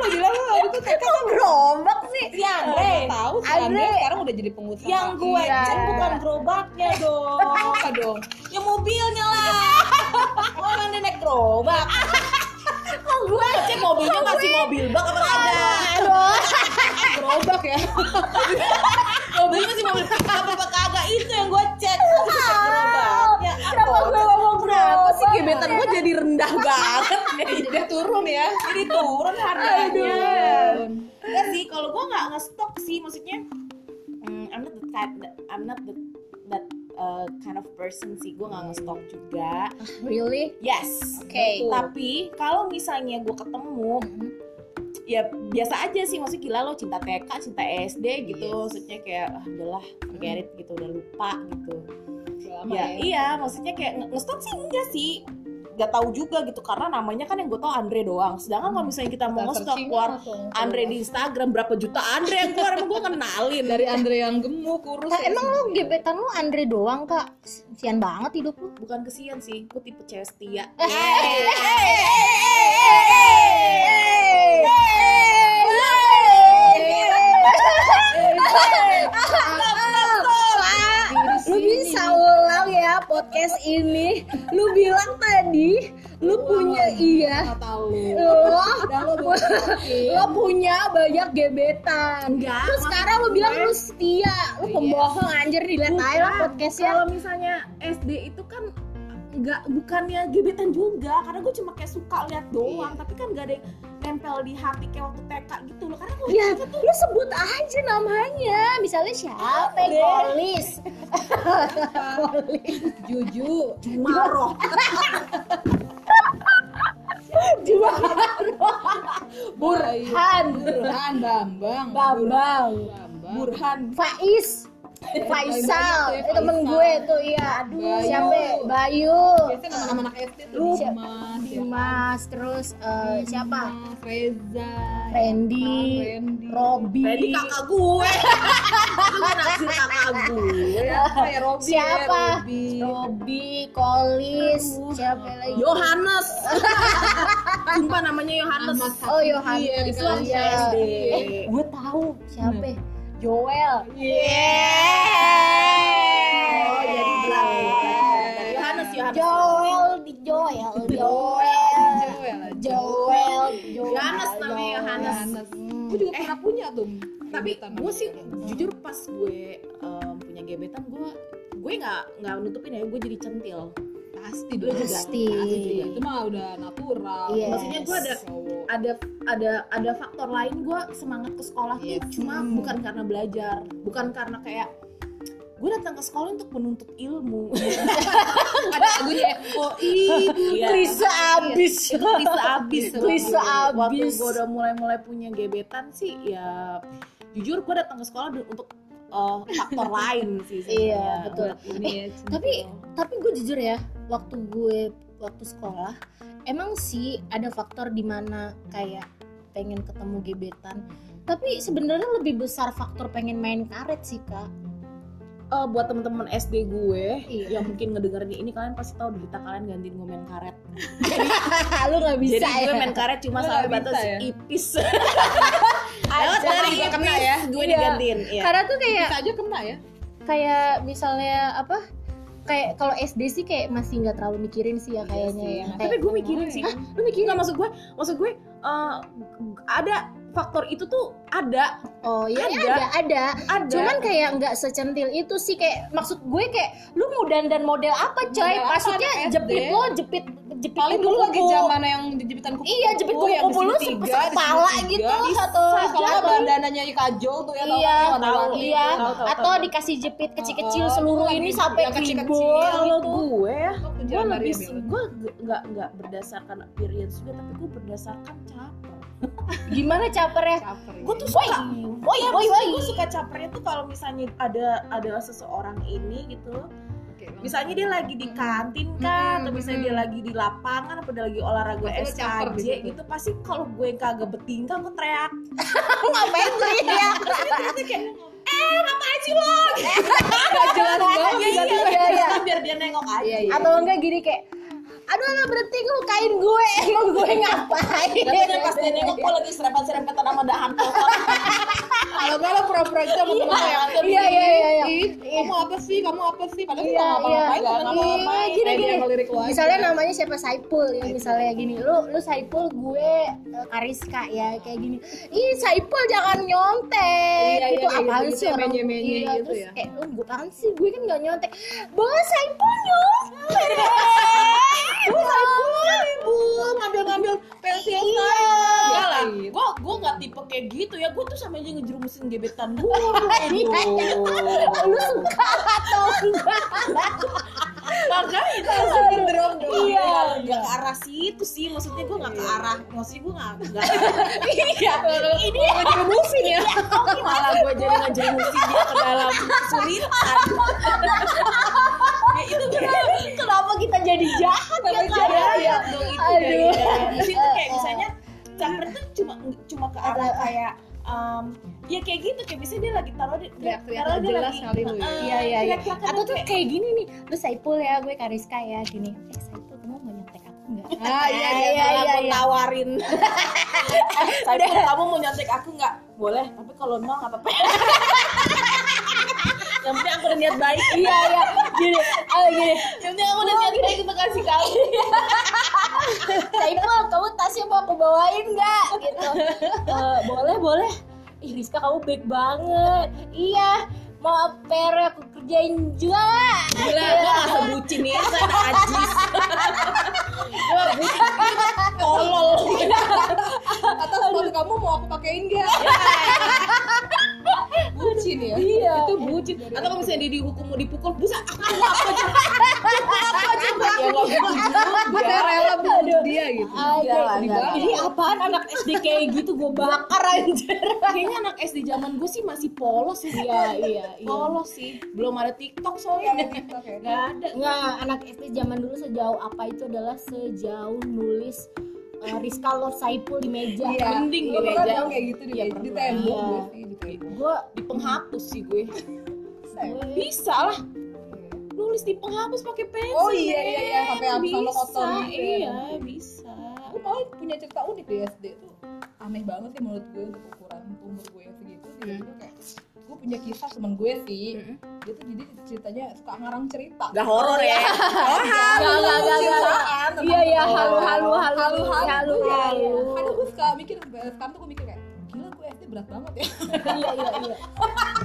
[SPEAKER 3] lo bilang lo itu TK
[SPEAKER 2] kok gerobak sih?
[SPEAKER 1] Si iya, Andre
[SPEAKER 3] tahu si
[SPEAKER 2] Eh, Andre.
[SPEAKER 3] Andre sekarang udah jadi pengusaha.
[SPEAKER 1] Yang gue
[SPEAKER 2] Iya.
[SPEAKER 1] cek bukan gerobaknya dong
[SPEAKER 3] apa dong?
[SPEAKER 1] Ya mobilnya Oh,
[SPEAKER 2] Oh,
[SPEAKER 1] lah Orang dia naik gerobak Kok gue cek mobilnya gak masih mobil bak apa kagak?
[SPEAKER 2] Aduh.
[SPEAKER 3] Gerobak ya.
[SPEAKER 1] Mobil masih mobil bak apa kagak? Itu yang gue cek. Gua bisa cek gerobak. Ya,
[SPEAKER 2] Kenapa gue ngomong
[SPEAKER 1] Kenapa sih
[SPEAKER 2] gerobak?
[SPEAKER 1] gebetan gue jadi rendah banget?
[SPEAKER 3] Jadi turun ya. Iya.
[SPEAKER 1] jadi turun harganya. Enggak sih, kalau gue nggak ngestok sih, maksudnya mm, I'm not the type that, I'm not the, that uh, kind of person sih, gue nggak ngestok juga.
[SPEAKER 2] Really?
[SPEAKER 1] Yes.
[SPEAKER 2] Oke.
[SPEAKER 3] Betul.
[SPEAKER 1] Tapi kalau misalnya gue
[SPEAKER 2] Oh,
[SPEAKER 1] ketemu, ya biasa aja sih maksudnya gila lo cinta TK cinta SD gitu
[SPEAKER 2] Yes.
[SPEAKER 1] maksudnya kayak ah udahlah forget it gitu udah lupa gitu
[SPEAKER 3] Lama
[SPEAKER 1] ya,
[SPEAKER 3] ya.
[SPEAKER 1] iya maksudnya kayak nge- ngestok sih enggak sih nggak tahu juga gitu karena namanya kan yang gue tau Andre doang sedangkan kalau misalnya kita mau ngestok keluar Andre di Instagram berapa juta Andre yang keluar emang gue kenalin
[SPEAKER 3] dari Andre yang gemuk kurus.
[SPEAKER 2] Lah emang lu gebetan lu Andre doang kak? Sian banget hidup lu. Eh.
[SPEAKER 1] bukan kesian sih gue tipe cewek setia
[SPEAKER 2] Lu bisa ulang ya podcast ini. Lu bilang tadi lu punya iya.
[SPEAKER 3] Nggak tahu.
[SPEAKER 2] Lo,
[SPEAKER 3] Udah lo
[SPEAKER 2] lo punya banyak gebetan.
[SPEAKER 1] enggak
[SPEAKER 2] Terus sekarang lu bilang lu setia, lu
[SPEAKER 3] Iya.
[SPEAKER 2] pembohong anjir dilihat aja lah
[SPEAKER 1] Bukan.
[SPEAKER 2] podcastnya.
[SPEAKER 1] kalau misalnya SD itu kan nggak bukannya gebetan juga karena gue cuma kayak suka
[SPEAKER 2] Iya.
[SPEAKER 1] lihat doang tapi kan nggak ada yang nempel di hati kayak waktu TK gitu loh karena gue
[SPEAKER 2] Ya, lu sebut aja namanya. Misalnya siapa? Kolis.
[SPEAKER 3] Juju.
[SPEAKER 1] maroh
[SPEAKER 3] Burhan.
[SPEAKER 2] Han,
[SPEAKER 3] Burhan Bambang.
[SPEAKER 2] Bambang,
[SPEAKER 3] Bambang.
[SPEAKER 1] Burhan
[SPEAKER 2] Faiz, Faisal,
[SPEAKER 3] Bayu
[SPEAKER 2] eh,
[SPEAKER 3] tuh
[SPEAKER 2] temen gue tuh
[SPEAKER 3] ya, Faisal.
[SPEAKER 2] iya.
[SPEAKER 3] Bayu.
[SPEAKER 2] Siapa? ya? Bayu,
[SPEAKER 3] Biasanya nama-nama anak SD tuh
[SPEAKER 2] Lu-
[SPEAKER 3] Dimas,
[SPEAKER 2] Dimas, terus eh, siapa?
[SPEAKER 3] Dimas, Reza,
[SPEAKER 2] Randy,
[SPEAKER 3] Randy,
[SPEAKER 1] Randy
[SPEAKER 2] Robby,
[SPEAKER 1] kakak gue Lu kan naksir kakak
[SPEAKER 2] Iya.
[SPEAKER 1] gue
[SPEAKER 3] Apa ya, Robby,
[SPEAKER 2] Siapa?
[SPEAKER 3] ya, Robby.
[SPEAKER 2] Robby, Kolis, siapa lagi?
[SPEAKER 1] Yohanes sumpah namanya Yohanes
[SPEAKER 3] Ahmad
[SPEAKER 2] Oh,
[SPEAKER 3] Sakti,
[SPEAKER 2] Yohanes. Iya.
[SPEAKER 3] ya,
[SPEAKER 2] Itu
[SPEAKER 3] kan?
[SPEAKER 2] aja.
[SPEAKER 3] SD.
[SPEAKER 1] Eh,
[SPEAKER 2] gue tahu siapa ya? Joel
[SPEAKER 1] oh jadi berangkat Yohanes Yohanes
[SPEAKER 2] Joel di Joel Joel
[SPEAKER 3] Joel aja.
[SPEAKER 2] Joel Hmm. Joel
[SPEAKER 1] Yohanes namanya Yohanes.
[SPEAKER 3] Yohanes. Gue juga pernah punya tuh.
[SPEAKER 1] tapi
[SPEAKER 3] gebetan
[SPEAKER 1] gue
[SPEAKER 3] namanya.
[SPEAKER 1] sih jujur pas gue em, punya gebetan gue gue nggak nggak nutupin ya gue jadi centil
[SPEAKER 3] pasti
[SPEAKER 1] Lu
[SPEAKER 3] dong.
[SPEAKER 1] juga?
[SPEAKER 2] Pasti.
[SPEAKER 3] juga. Itu mah udah natural.
[SPEAKER 2] Iya.
[SPEAKER 1] Maksudnya gua ada-
[SPEAKER 3] Cowok.
[SPEAKER 1] ada ada ada faktor lain gue semangat ke sekolah tuh
[SPEAKER 3] Yes.
[SPEAKER 1] cuma
[SPEAKER 3] Hmm.
[SPEAKER 1] bukan karena belajar bukan karena kayak gue datang ke sekolah untuk menuntut ilmu
[SPEAKER 3] ada lagunya FOI
[SPEAKER 1] Iya.
[SPEAKER 2] Klise abis
[SPEAKER 1] klise abis
[SPEAKER 2] Klise
[SPEAKER 1] Waktu- waktu
[SPEAKER 2] abis.
[SPEAKER 1] gue udah mulai mulai punya gebetan sih ya jujur gue datang ke sekolah du- untuk eh, faktor lain sih
[SPEAKER 2] Iya,
[SPEAKER 1] sebenarnya.
[SPEAKER 2] betul.
[SPEAKER 3] ini ya,
[SPEAKER 2] tapi- tapi gue jujur ya waktu gue waktu sekolah emang sih ada faktor dimana kayak pengen ketemu gebetan tapi sebenarnya lebih besar faktor pengen main karet sih kak
[SPEAKER 1] Eh, buat temen-temen SD gue
[SPEAKER 2] Iya.
[SPEAKER 1] yang mungkin ngedengerin ini kalian pasti tahu derita kalian gantiin gue main karet
[SPEAKER 2] lu nggak bisa
[SPEAKER 1] jadi
[SPEAKER 2] ya?
[SPEAKER 1] gue main karet cuma
[SPEAKER 3] Lu
[SPEAKER 1] sampai
[SPEAKER 3] nggak bisa
[SPEAKER 1] batas
[SPEAKER 3] ya?
[SPEAKER 1] ipis
[SPEAKER 3] Lewat dari
[SPEAKER 1] ipis,
[SPEAKER 3] kena ya.
[SPEAKER 1] gue
[SPEAKER 2] Iya.
[SPEAKER 1] digantiin iya.
[SPEAKER 2] karena tuh kayak
[SPEAKER 3] Bisa aja kena ya.
[SPEAKER 2] kayak misalnya apa kayak kalau SD sih kayak masih nggak terlalu mikirin sih ya
[SPEAKER 3] Iya
[SPEAKER 2] kayaknya
[SPEAKER 3] sih,
[SPEAKER 2] ya.
[SPEAKER 3] emang.
[SPEAKER 1] tapi
[SPEAKER 2] Kayak,
[SPEAKER 1] gue mikirin sih
[SPEAKER 2] lu mikirin
[SPEAKER 1] nggak maksud gue maksud gue eh, ada faktor itu tuh ada
[SPEAKER 2] oh iya
[SPEAKER 1] Ada.
[SPEAKER 2] ada. ada
[SPEAKER 1] ada
[SPEAKER 2] cuman kayak nggak secentil itu sih kayak maksud gue kayak lu mau dandan model apa coy
[SPEAKER 3] Model apa,
[SPEAKER 2] maksudnya
[SPEAKER 3] anak SD?
[SPEAKER 2] jepit lo jepit jepit
[SPEAKER 3] Paling dulu lagi
[SPEAKER 2] kuku.
[SPEAKER 3] zaman yang jepitan kupu.
[SPEAKER 2] iya jepit kuku lu sepala gitu atau
[SPEAKER 3] Kalau
[SPEAKER 2] atau-
[SPEAKER 3] bandananya kajol tuh ya tau
[SPEAKER 2] Iya,
[SPEAKER 3] kan, warna
[SPEAKER 1] tahu,
[SPEAKER 3] warni
[SPEAKER 2] iya.
[SPEAKER 3] tuh.
[SPEAKER 1] Tahu, tahu,
[SPEAKER 2] atau
[SPEAKER 1] tahu.
[SPEAKER 2] dikasih jepit kecil-kecil
[SPEAKER 3] Oh,
[SPEAKER 2] seluruh
[SPEAKER 3] yang
[SPEAKER 2] ini
[SPEAKER 3] kecil-
[SPEAKER 2] sampai
[SPEAKER 3] yang kecil-kecil.
[SPEAKER 2] tribal
[SPEAKER 1] kalau
[SPEAKER 2] gitu
[SPEAKER 1] gue ya
[SPEAKER 3] Waktu
[SPEAKER 1] gue
[SPEAKER 3] zaman
[SPEAKER 1] lebih
[SPEAKER 3] dia
[SPEAKER 1] sih
[SPEAKER 3] bilang.
[SPEAKER 1] gue nggak- nggak nggak berdasarkan appearance juga tapi gue berdasarkan caper
[SPEAKER 2] gimana capernya
[SPEAKER 3] Caper,
[SPEAKER 1] gue tuh suka
[SPEAKER 3] ya.
[SPEAKER 2] woi
[SPEAKER 1] Iya,
[SPEAKER 2] woi
[SPEAKER 1] maksudnya
[SPEAKER 2] woi
[SPEAKER 1] gue suka capernya tuh kalau misalnya ada ada seseorang ini gitu loh
[SPEAKER 3] Oke, langsung.
[SPEAKER 1] misalnya dia lagi di kantin kan
[SPEAKER 3] Hmm,
[SPEAKER 1] atau misalnya
[SPEAKER 3] hmm.
[SPEAKER 1] dia lagi di lapangan atau dia lagi olahraga
[SPEAKER 3] Pasti lu caper
[SPEAKER 1] SKJ
[SPEAKER 3] di situ.
[SPEAKER 1] gitu pasti kalau gue kagak bertingkah gue teriak
[SPEAKER 2] ngapain sih ya
[SPEAKER 1] Terus kayak eh ngapain sih lo
[SPEAKER 3] Nggak jelas banget
[SPEAKER 1] Iya, iya,
[SPEAKER 3] tiba-tiba.
[SPEAKER 2] iya, iya.
[SPEAKER 1] biar dia nengok aja
[SPEAKER 3] Iya, iya.
[SPEAKER 2] atau enggak gini kayak aduh anak berhenti ngelukain gue emang gue ngapain
[SPEAKER 1] Katanya pas dia nengok gue lagi serempet-serempetan sama dahan pohon
[SPEAKER 3] kalau nggak lo pura-pura gitu sama temen lo yang
[SPEAKER 2] Iya, iya, iya, iya.
[SPEAKER 3] "Ih, kamu apa sih kamu apa sih padahal
[SPEAKER 2] Iya,
[SPEAKER 3] kita nggak
[SPEAKER 2] iya.
[SPEAKER 3] ngapain
[SPEAKER 1] Nggak
[SPEAKER 3] temen
[SPEAKER 1] ngapa-ngapain.
[SPEAKER 3] lo
[SPEAKER 2] Gini,
[SPEAKER 3] Eh, dia
[SPEAKER 2] gini.
[SPEAKER 3] ngelirik lo aja.
[SPEAKER 2] misalnya namanya siapa Saipul ya misalnya gini lu lu Saipul gue eh, Kariska ya kayak gini ih Saipul jangan nyontek
[SPEAKER 3] Iya, iya,
[SPEAKER 2] itu
[SPEAKER 3] kayak
[SPEAKER 2] apaan
[SPEAKER 3] gitu-gitu
[SPEAKER 2] sih
[SPEAKER 3] yang
[SPEAKER 2] orang
[SPEAKER 3] menye-menye
[SPEAKER 2] iya,
[SPEAKER 3] gitu
[SPEAKER 2] terus
[SPEAKER 3] ya.
[SPEAKER 2] kayak lu gue apaan sih gue kan gak nyontek bos Saipul nyontek
[SPEAKER 1] Gue Saipul, ibu ngambil-ngambil pensil saya. Iya lah,
[SPEAKER 3] Iya.
[SPEAKER 1] gue gue nggak tipe kayak gitu ya. Gue tuh sama aja ngejerumusin gebetan gue.
[SPEAKER 2] Iya. lu suka atau enggak
[SPEAKER 1] Makanya itu
[SPEAKER 3] Langsung ngedrop dong.
[SPEAKER 1] Iya, nggak ke arah situ sih. Maksudnya gue nggak ke arah. Maksudnya gue nggak. nggak- Iya, ini
[SPEAKER 3] Kalau ngejerumusin ya
[SPEAKER 1] malah gue jadi ngejerumusin dia ke dalam kesulitan. ya itu kenapa?
[SPEAKER 2] kenapa kita jadi jahat ya kan
[SPEAKER 1] Iya, iya, dong itu.
[SPEAKER 2] Aduh.
[SPEAKER 1] Di situ kayak misalnya caper tuh cuma cuma ke arah kayak em, ya kayak gitu kayak misalnya dia lagi taruh di
[SPEAKER 3] Teriak-teriak
[SPEAKER 1] taruh dia
[SPEAKER 3] jelas
[SPEAKER 1] lagi-
[SPEAKER 3] kali lu ya.
[SPEAKER 1] Heeh,
[SPEAKER 2] Iya iya iya.
[SPEAKER 1] teriak-teriakan
[SPEAKER 2] Atau tuh
[SPEAKER 1] kayak-
[SPEAKER 2] kayak gini nih, lu Saipul ya, gue Kariska ya, gini. Eh Saipul, kamu mau nyontek aku nggak?
[SPEAKER 3] ah iya iya
[SPEAKER 2] Iya,
[SPEAKER 1] malah
[SPEAKER 2] iya,
[SPEAKER 1] gua
[SPEAKER 2] iya.
[SPEAKER 1] tawarin eh, tapi kamu mau nyontek aku nggak boleh tapi kalau nol nggak apa-apa yang penting aku udah niat baik
[SPEAKER 2] Iya iya, gini, ah gini.
[SPEAKER 1] yang penting aku udah niat baik untuk kasih kamu
[SPEAKER 2] Saipul, kamu tasnya mau aku bawain nggak? Gitu. "Eh, boleh boleh. Ih Rizka kamu baik banget. Iya, mau PR aku kerjain juga.
[SPEAKER 1] gila gue rasa bucin ya saya najis gue bucin tolol
[SPEAKER 2] iya.
[SPEAKER 3] atau sepatu kamu mau aku pakein gak bucin ya
[SPEAKER 2] Iya.
[SPEAKER 3] itu bucin
[SPEAKER 1] atau kalau misalnya dia dihukum mau dipukul busa aku mau apa coba apa coba ya nggak bucin
[SPEAKER 3] dia rela bunuh dia gitu
[SPEAKER 1] Enggak Ah, iya lah,
[SPEAKER 2] Ada.
[SPEAKER 1] enggak lah.
[SPEAKER 2] Ini apaan anak SD kayak gitu gue bakar anjir.
[SPEAKER 1] kayaknya anak SD zaman gue sih masih polos sih ya.
[SPEAKER 2] Iya iya iya.
[SPEAKER 1] polos sih belum ada TikTok soalnya
[SPEAKER 3] Nggak ada
[SPEAKER 2] Nggak, anak SD zaman dulu sejauh apa itu adalah sejauh nulis eh, Rizka Lor Saipul di meja.
[SPEAKER 3] Iya.
[SPEAKER 1] mending di
[SPEAKER 3] Lo pernah
[SPEAKER 1] meja.
[SPEAKER 3] dong kayak gitu di
[SPEAKER 1] Iya,
[SPEAKER 3] meja di
[SPEAKER 1] pernah.
[SPEAKER 3] tembok
[SPEAKER 2] Iya.
[SPEAKER 3] gue sih gitu ya? di tembok
[SPEAKER 2] Gue
[SPEAKER 1] di penghapus sih gue
[SPEAKER 3] ya?
[SPEAKER 2] gue
[SPEAKER 1] bisa lah nulis di penghapus pakai pensil
[SPEAKER 3] Oh, iya, iya, iya. Sampai
[SPEAKER 1] Ren.
[SPEAKER 3] abis sama
[SPEAKER 1] Bisa,
[SPEAKER 3] kotor gitu ya.
[SPEAKER 1] iya bisa
[SPEAKER 3] aku malah punya cerita unik di SD tuh aneh banget sih menurut gue untuk ukuran umur gue yang segitu tiba-tiba kayak gue punya kisah temen gue sih dia tuh jadi ceritanya suka ngarang cerita kan?
[SPEAKER 1] Gak horor ya
[SPEAKER 2] Nggak, nggak, nggak, nggak.
[SPEAKER 3] Cintaan tentang
[SPEAKER 2] Iya iya
[SPEAKER 3] orang.
[SPEAKER 2] halu halu halu
[SPEAKER 3] kan, halu halu,
[SPEAKER 2] halu
[SPEAKER 3] iya,
[SPEAKER 2] halu.
[SPEAKER 3] iya. kadang gue suka mikir sampai sekarang tuh gue mikir kayak gila gue SD berat banget ya
[SPEAKER 2] Iya iya iya.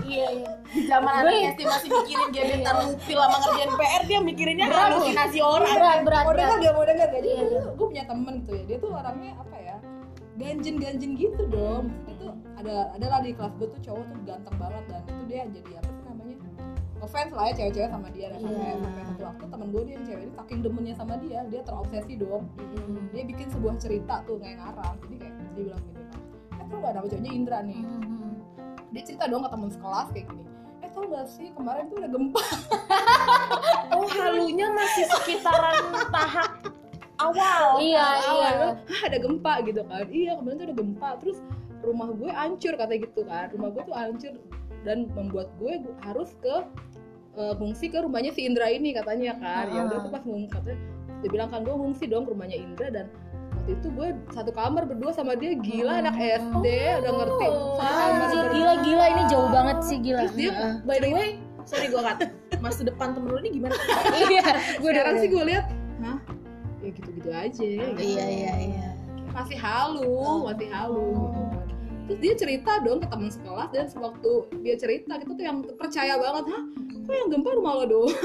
[SPEAKER 2] Iya iya.
[SPEAKER 1] di zaman
[SPEAKER 2] Gue-
[SPEAKER 1] anak SD masih mikirin gebetan lupil sama ngerjain PR dia mikirinnya
[SPEAKER 2] Berat, Bu.
[SPEAKER 1] halusinasi orang
[SPEAKER 2] Berat berat
[SPEAKER 3] mau
[SPEAKER 2] berat.
[SPEAKER 3] denger gak mau denger gak jadi
[SPEAKER 2] Iya, iya.
[SPEAKER 3] gue punya temen tuh ya dia tuh orangnya apa ya ganjen ganjen gitu dong maksudnya tuh ada adalah di kelas gue tuh cowok tuh ganteng banget dan itu dia jadi apa sih namanya offense lah ya cewek-cewek sama dia dan sampai
[SPEAKER 2] Iya.
[SPEAKER 3] sampai satu waktu temen gue dia yang cewek ini saking demennya sama dia dia terobsesi dong
[SPEAKER 2] Hmm.
[SPEAKER 3] dia bikin sebuah cerita tuh kayak ngarang jadi kayak dia bilang gini eh tau gak nama cowoknya Indra nih
[SPEAKER 2] Hmm.
[SPEAKER 3] dia cerita dong ke temen sekelas kayak gini eh tau gak sih kemarin tuh udah gempa
[SPEAKER 1] oh halunya masih sekitaran tahap awal
[SPEAKER 2] Iya iya.
[SPEAKER 3] Hah, kan, ada gempa gitu kan iya kemarin tuh ada gempa terus rumah gue hancur kata gitu kan rumah gue tuh hancur dan membuat gue gu- harus ke eh, ngungsi ke rumahnya si Indra ini katanya kan ya udah
[SPEAKER 2] Ah.
[SPEAKER 3] aku pas ngungsi katanya dia bilang kan gue ngungsi dong ke rumahnya Indra dan waktu itu gue satu kamar berdua sama dia
[SPEAKER 2] Oh.
[SPEAKER 3] gila anak SD udah ngerti satu kamar
[SPEAKER 2] Anjir
[SPEAKER 3] berdua.
[SPEAKER 2] gila gila ini jauh banget sih gila.
[SPEAKER 1] terus dia by the way sorry gue kat masa depan temen lu ini gimana
[SPEAKER 2] Iya. Gue
[SPEAKER 3] sekarang sih gue lihat hah ya gitu-gitu aja
[SPEAKER 2] Iya iya iya.
[SPEAKER 3] masih halu masih halu
[SPEAKER 2] Oh.
[SPEAKER 3] gitu kan. terus dia cerita dong ke teman sekelas dan sewaktu dia cerita gitu tuh yang percaya banget hah kok yang gempa rumah lo doang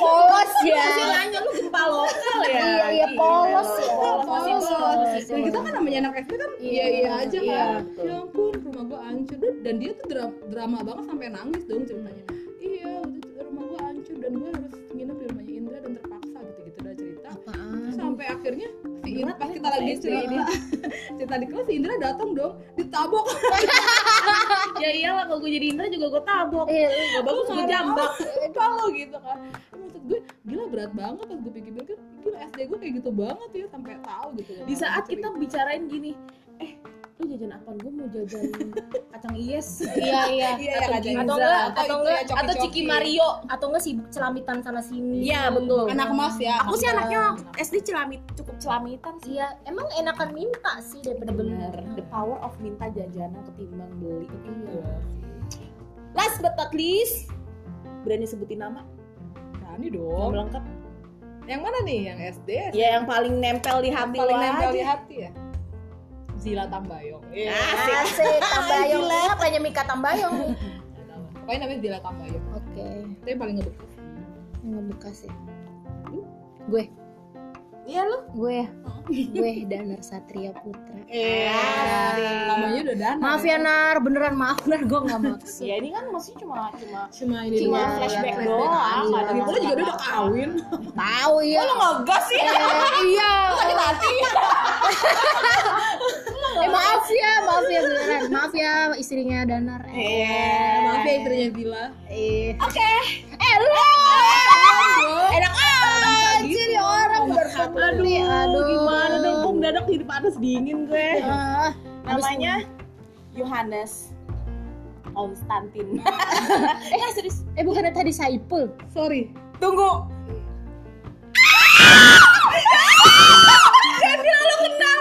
[SPEAKER 2] Polos ya.
[SPEAKER 1] Terus dia nanya lu gempa lokal ya
[SPEAKER 2] Iya iya polos sih.
[SPEAKER 1] Iya, Polos, masih
[SPEAKER 2] Polos.
[SPEAKER 1] polos.
[SPEAKER 3] dan kita kan namanya anak SD kan
[SPEAKER 2] Iya,
[SPEAKER 3] iya iya aja
[SPEAKER 1] iya,
[SPEAKER 3] kan
[SPEAKER 1] betul.
[SPEAKER 3] ya ampun rumah gua hancur dan, dan dia tuh drama, drama banget sampai nangis dong ceritanya iya waktu itu rumah gua hancur dan gua harus nginep di rumahnya Indra dan terpaksa gitu gitu udah cerita Terus sampai akhirnya si Indra pas kita lagi cerita cerita di kelas si Indra datang dong ditabok
[SPEAKER 1] ya iyalah kalau gue jadi Indra juga gue tabok
[SPEAKER 2] Iya.
[SPEAKER 1] gak bagus gue jambak
[SPEAKER 3] apa lo gitu kan maksud gue gila berat banget pas gue pikir-pikir kan gila SD gue kayak gitu banget ya sampai tahu gitu
[SPEAKER 1] di saat kita bicarain gini eh
[SPEAKER 4] lu jajan apaan gue mau jajan kacang ies
[SPEAKER 2] iya iya
[SPEAKER 1] Iya,
[SPEAKER 4] Atau
[SPEAKER 1] ya,
[SPEAKER 4] gimana?
[SPEAKER 2] atau enggak atau
[SPEAKER 3] Atau itu
[SPEAKER 2] enggak
[SPEAKER 3] ya, coki-coki.
[SPEAKER 2] atau ciki Mario atau enggak sih celamitan sana sini
[SPEAKER 1] Iya, betul.
[SPEAKER 3] anak mas ya
[SPEAKER 1] Aku sih anaknya SD celamit cukup celamitan sih.
[SPEAKER 2] iya emang enakan minta sih daripada
[SPEAKER 1] Bener.
[SPEAKER 2] beli.
[SPEAKER 1] The power of minta jajanan ketimbang beli. Iya.
[SPEAKER 3] Iya.
[SPEAKER 1] Last but not least, berani sebutin nama?
[SPEAKER 3] berani
[SPEAKER 1] Nama
[SPEAKER 3] dong
[SPEAKER 1] lengkap?
[SPEAKER 3] yang mana nih yang SD
[SPEAKER 1] Oh. Ya yang paling nempel di hati
[SPEAKER 3] paling
[SPEAKER 1] lo
[SPEAKER 3] nempel di
[SPEAKER 1] aja.
[SPEAKER 3] hati ya Zila Tambayong Iya.
[SPEAKER 2] Asik, Tambayong
[SPEAKER 1] Gila.
[SPEAKER 2] Apa yang Mika Tambayong?
[SPEAKER 3] Nggak tahu. pokoknya namanya Zila Tambayong
[SPEAKER 2] Oke,
[SPEAKER 3] itu yang paling ngebekas
[SPEAKER 2] ngebuka sih
[SPEAKER 1] Iya lu.
[SPEAKER 2] Gue, ya? gue Danar Satria Putra
[SPEAKER 1] Iya. Asik.
[SPEAKER 3] namanya udah dana
[SPEAKER 2] Maaf ya Nar, beneran maaf Nar, gue gak maksud
[SPEAKER 1] Ya ini kan maksudnya cuma cuma
[SPEAKER 3] cuma ini
[SPEAKER 1] cuma
[SPEAKER 2] Iya,
[SPEAKER 1] flashback
[SPEAKER 2] flashback
[SPEAKER 1] doang. nggak
[SPEAKER 2] doang.
[SPEAKER 1] ada
[SPEAKER 2] Iya.
[SPEAKER 3] Gitu
[SPEAKER 1] masalah.
[SPEAKER 3] juga dia udah kawin
[SPEAKER 2] Tahu ya
[SPEAKER 1] Lu ngegas ya.
[SPEAKER 2] Eh, Iya,
[SPEAKER 1] Sakit hati.
[SPEAKER 2] eh, maaf ya, maaf ya beneran Maaf ya istrinya Danar Eh,
[SPEAKER 3] Maaf ya istrinya Zila
[SPEAKER 2] eh.
[SPEAKER 1] Iya. Oke.
[SPEAKER 2] Eh, lu
[SPEAKER 1] Enak aja.
[SPEAKER 2] jadi ya orang berhati
[SPEAKER 1] Gitu. Aduh, Iya. gimana dong? Pung dadak jadi panas dingin gue.
[SPEAKER 2] Ah,
[SPEAKER 1] Namanya Yohanes Konstantin. Enggak serius.
[SPEAKER 2] Eh bukannya tadi Saipul
[SPEAKER 3] sorry
[SPEAKER 1] Tunggu. Jangan lu kenal.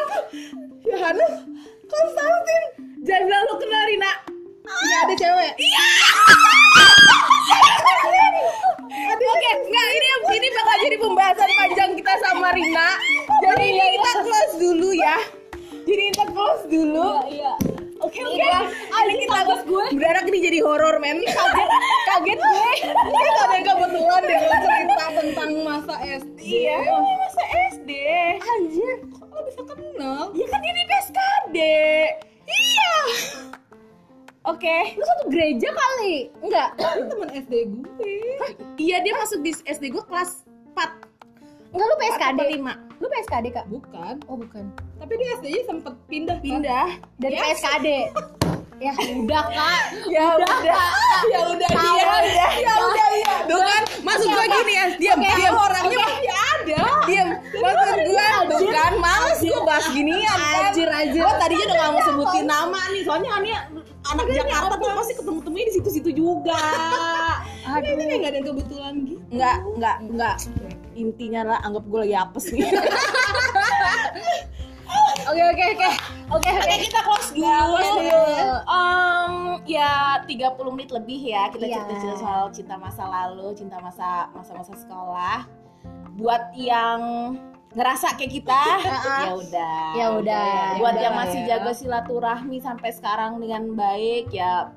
[SPEAKER 1] Yohanes Konstantin. Jangan lu kenal Rina.
[SPEAKER 3] nggak ada cewek
[SPEAKER 1] Iya. Oke, enggak ini ini bakal jadi pembahasan panjang kita sama Rina. Jadi ini kita close dulu ya. Jadi kita close dulu.
[SPEAKER 4] iya
[SPEAKER 1] Oke oke.
[SPEAKER 2] Iya.
[SPEAKER 1] Ini kita gue berharap ini jadi horor men. Kaget kaget gue. Ini ada yang kebetulan deh lo cerita tentang
[SPEAKER 3] masa SD
[SPEAKER 1] Iya, ini masa SD. Anjir.
[SPEAKER 3] lo bisa kenal
[SPEAKER 1] Ya kan ini PSKD. Iya. Oke.
[SPEAKER 2] Lu satu gereja kali? Enggak
[SPEAKER 3] ini Kan teman SD gue
[SPEAKER 1] Iya dia masuk di SD gue kelas 4
[SPEAKER 2] Enggak lu
[SPEAKER 1] atau
[SPEAKER 2] PSKD?
[SPEAKER 1] 5
[SPEAKER 2] Lu PSKD kak?
[SPEAKER 3] bukan
[SPEAKER 2] Oh bukan
[SPEAKER 3] tapi dia SD nya sempet pindah kan?
[SPEAKER 1] pindah.
[SPEAKER 2] Dari PSKD Ya udah kak
[SPEAKER 1] Ya udah.
[SPEAKER 3] ya udah
[SPEAKER 2] Tahu,
[SPEAKER 3] dia
[SPEAKER 2] ya.
[SPEAKER 3] ya udah iya tuh kan maksud gue gini ya diam diam orangnya masih ada diam maksud gue tuh kan males gue bahas ginian kan
[SPEAKER 1] Anjir anjir. Gue tadinya udah gak mau sebutin nama nih, soalnya kan ya anak Jakarta tuh pasti ketemu-temunya di situ-situ juga.
[SPEAKER 3] Ini kayak nggak ada yang kebetulan gitu
[SPEAKER 1] Enggak, enggak, enggak. Intinya lah anggap gue lagi apes nih.
[SPEAKER 2] Oke oke oke
[SPEAKER 1] Oke,
[SPEAKER 2] Oke oke
[SPEAKER 1] kita Nah, close dulu.
[SPEAKER 2] close dulu.
[SPEAKER 1] Em, ya 30 menit lebih ya kita
[SPEAKER 2] Iya.
[SPEAKER 1] cerita-cerita soal cinta masa lalu, cinta masa masa-masa sekolah. Buat yang ngerasa kayak kita, ya udah.
[SPEAKER 2] Ya udah, ya
[SPEAKER 1] Buat
[SPEAKER 2] udah
[SPEAKER 1] yang
[SPEAKER 3] lah
[SPEAKER 1] masih
[SPEAKER 3] ya.
[SPEAKER 1] jaga silaturahmi sampai sekarang dengan baik ya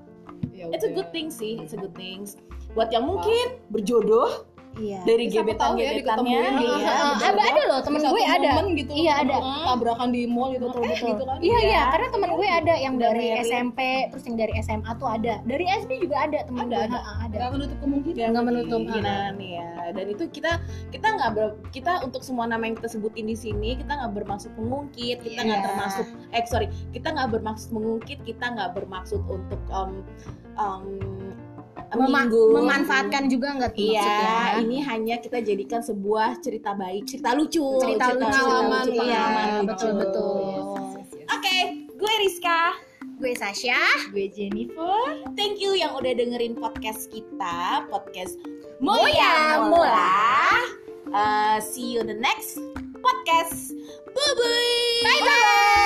[SPEAKER 1] it's a good thing sih, it's a good things. Buat yang mungkin berjodoh
[SPEAKER 2] Iya
[SPEAKER 1] dari
[SPEAKER 3] Siapa tahu ya
[SPEAKER 1] gebetan-gebetannya
[SPEAKER 3] diketemuin
[SPEAKER 1] gitu
[SPEAKER 3] gitu
[SPEAKER 1] ya.
[SPEAKER 3] ya.
[SPEAKER 2] Ah, ada ada loh temen gue ada
[SPEAKER 3] gitu
[SPEAKER 2] Iya, ada.
[SPEAKER 3] tabrakan di mall gitu
[SPEAKER 2] Betul,
[SPEAKER 3] eh,
[SPEAKER 2] betul.
[SPEAKER 3] gitu kan
[SPEAKER 2] Iya
[SPEAKER 1] Iya.
[SPEAKER 2] iya karena temen gue ada yang
[SPEAKER 1] Udah
[SPEAKER 2] dari
[SPEAKER 1] married.
[SPEAKER 2] SMP terus yang dari SMA tuh ada dari SD juga ada temen
[SPEAKER 3] Ada,
[SPEAKER 2] gue
[SPEAKER 3] ada.
[SPEAKER 2] Ah, ada
[SPEAKER 3] nggak menutup kemungkinan Iya.
[SPEAKER 2] nggak menutup Nah,
[SPEAKER 1] kemungkinan ya dan itu kita kita nggak ber- kita untuk semua nama yang kita sebutin di sini kita nggak bermaksud mengungkit kita nggak
[SPEAKER 2] Iya.
[SPEAKER 1] termasuk eh sorry kita nggak bermaksud mengungkit kita nggak bermaksud untuk um, um,
[SPEAKER 2] Mema-
[SPEAKER 1] menyinggung.
[SPEAKER 2] memanfaatkan juga nggak tuh
[SPEAKER 1] Iya,
[SPEAKER 2] maksudnya?
[SPEAKER 1] ini hanya kita jadikan sebuah cerita baik, cerita lucu,
[SPEAKER 2] Cerita lucu,
[SPEAKER 3] pengalaman
[SPEAKER 1] cerita lucu.
[SPEAKER 2] Iya,
[SPEAKER 3] pengalaman
[SPEAKER 1] Iya.
[SPEAKER 2] betul,
[SPEAKER 3] gitu.
[SPEAKER 2] betul.
[SPEAKER 3] Yes, yes, yes.
[SPEAKER 1] Oke, gue Rizka.
[SPEAKER 2] gue Sasha
[SPEAKER 3] gue Jennifer
[SPEAKER 1] Thank you yang udah dengerin podcast kita, podcast
[SPEAKER 2] Moya
[SPEAKER 1] Moya
[SPEAKER 2] Mola.
[SPEAKER 1] Mola. Eh, Uh, see you the next podcast. Bye bye. Bye bye.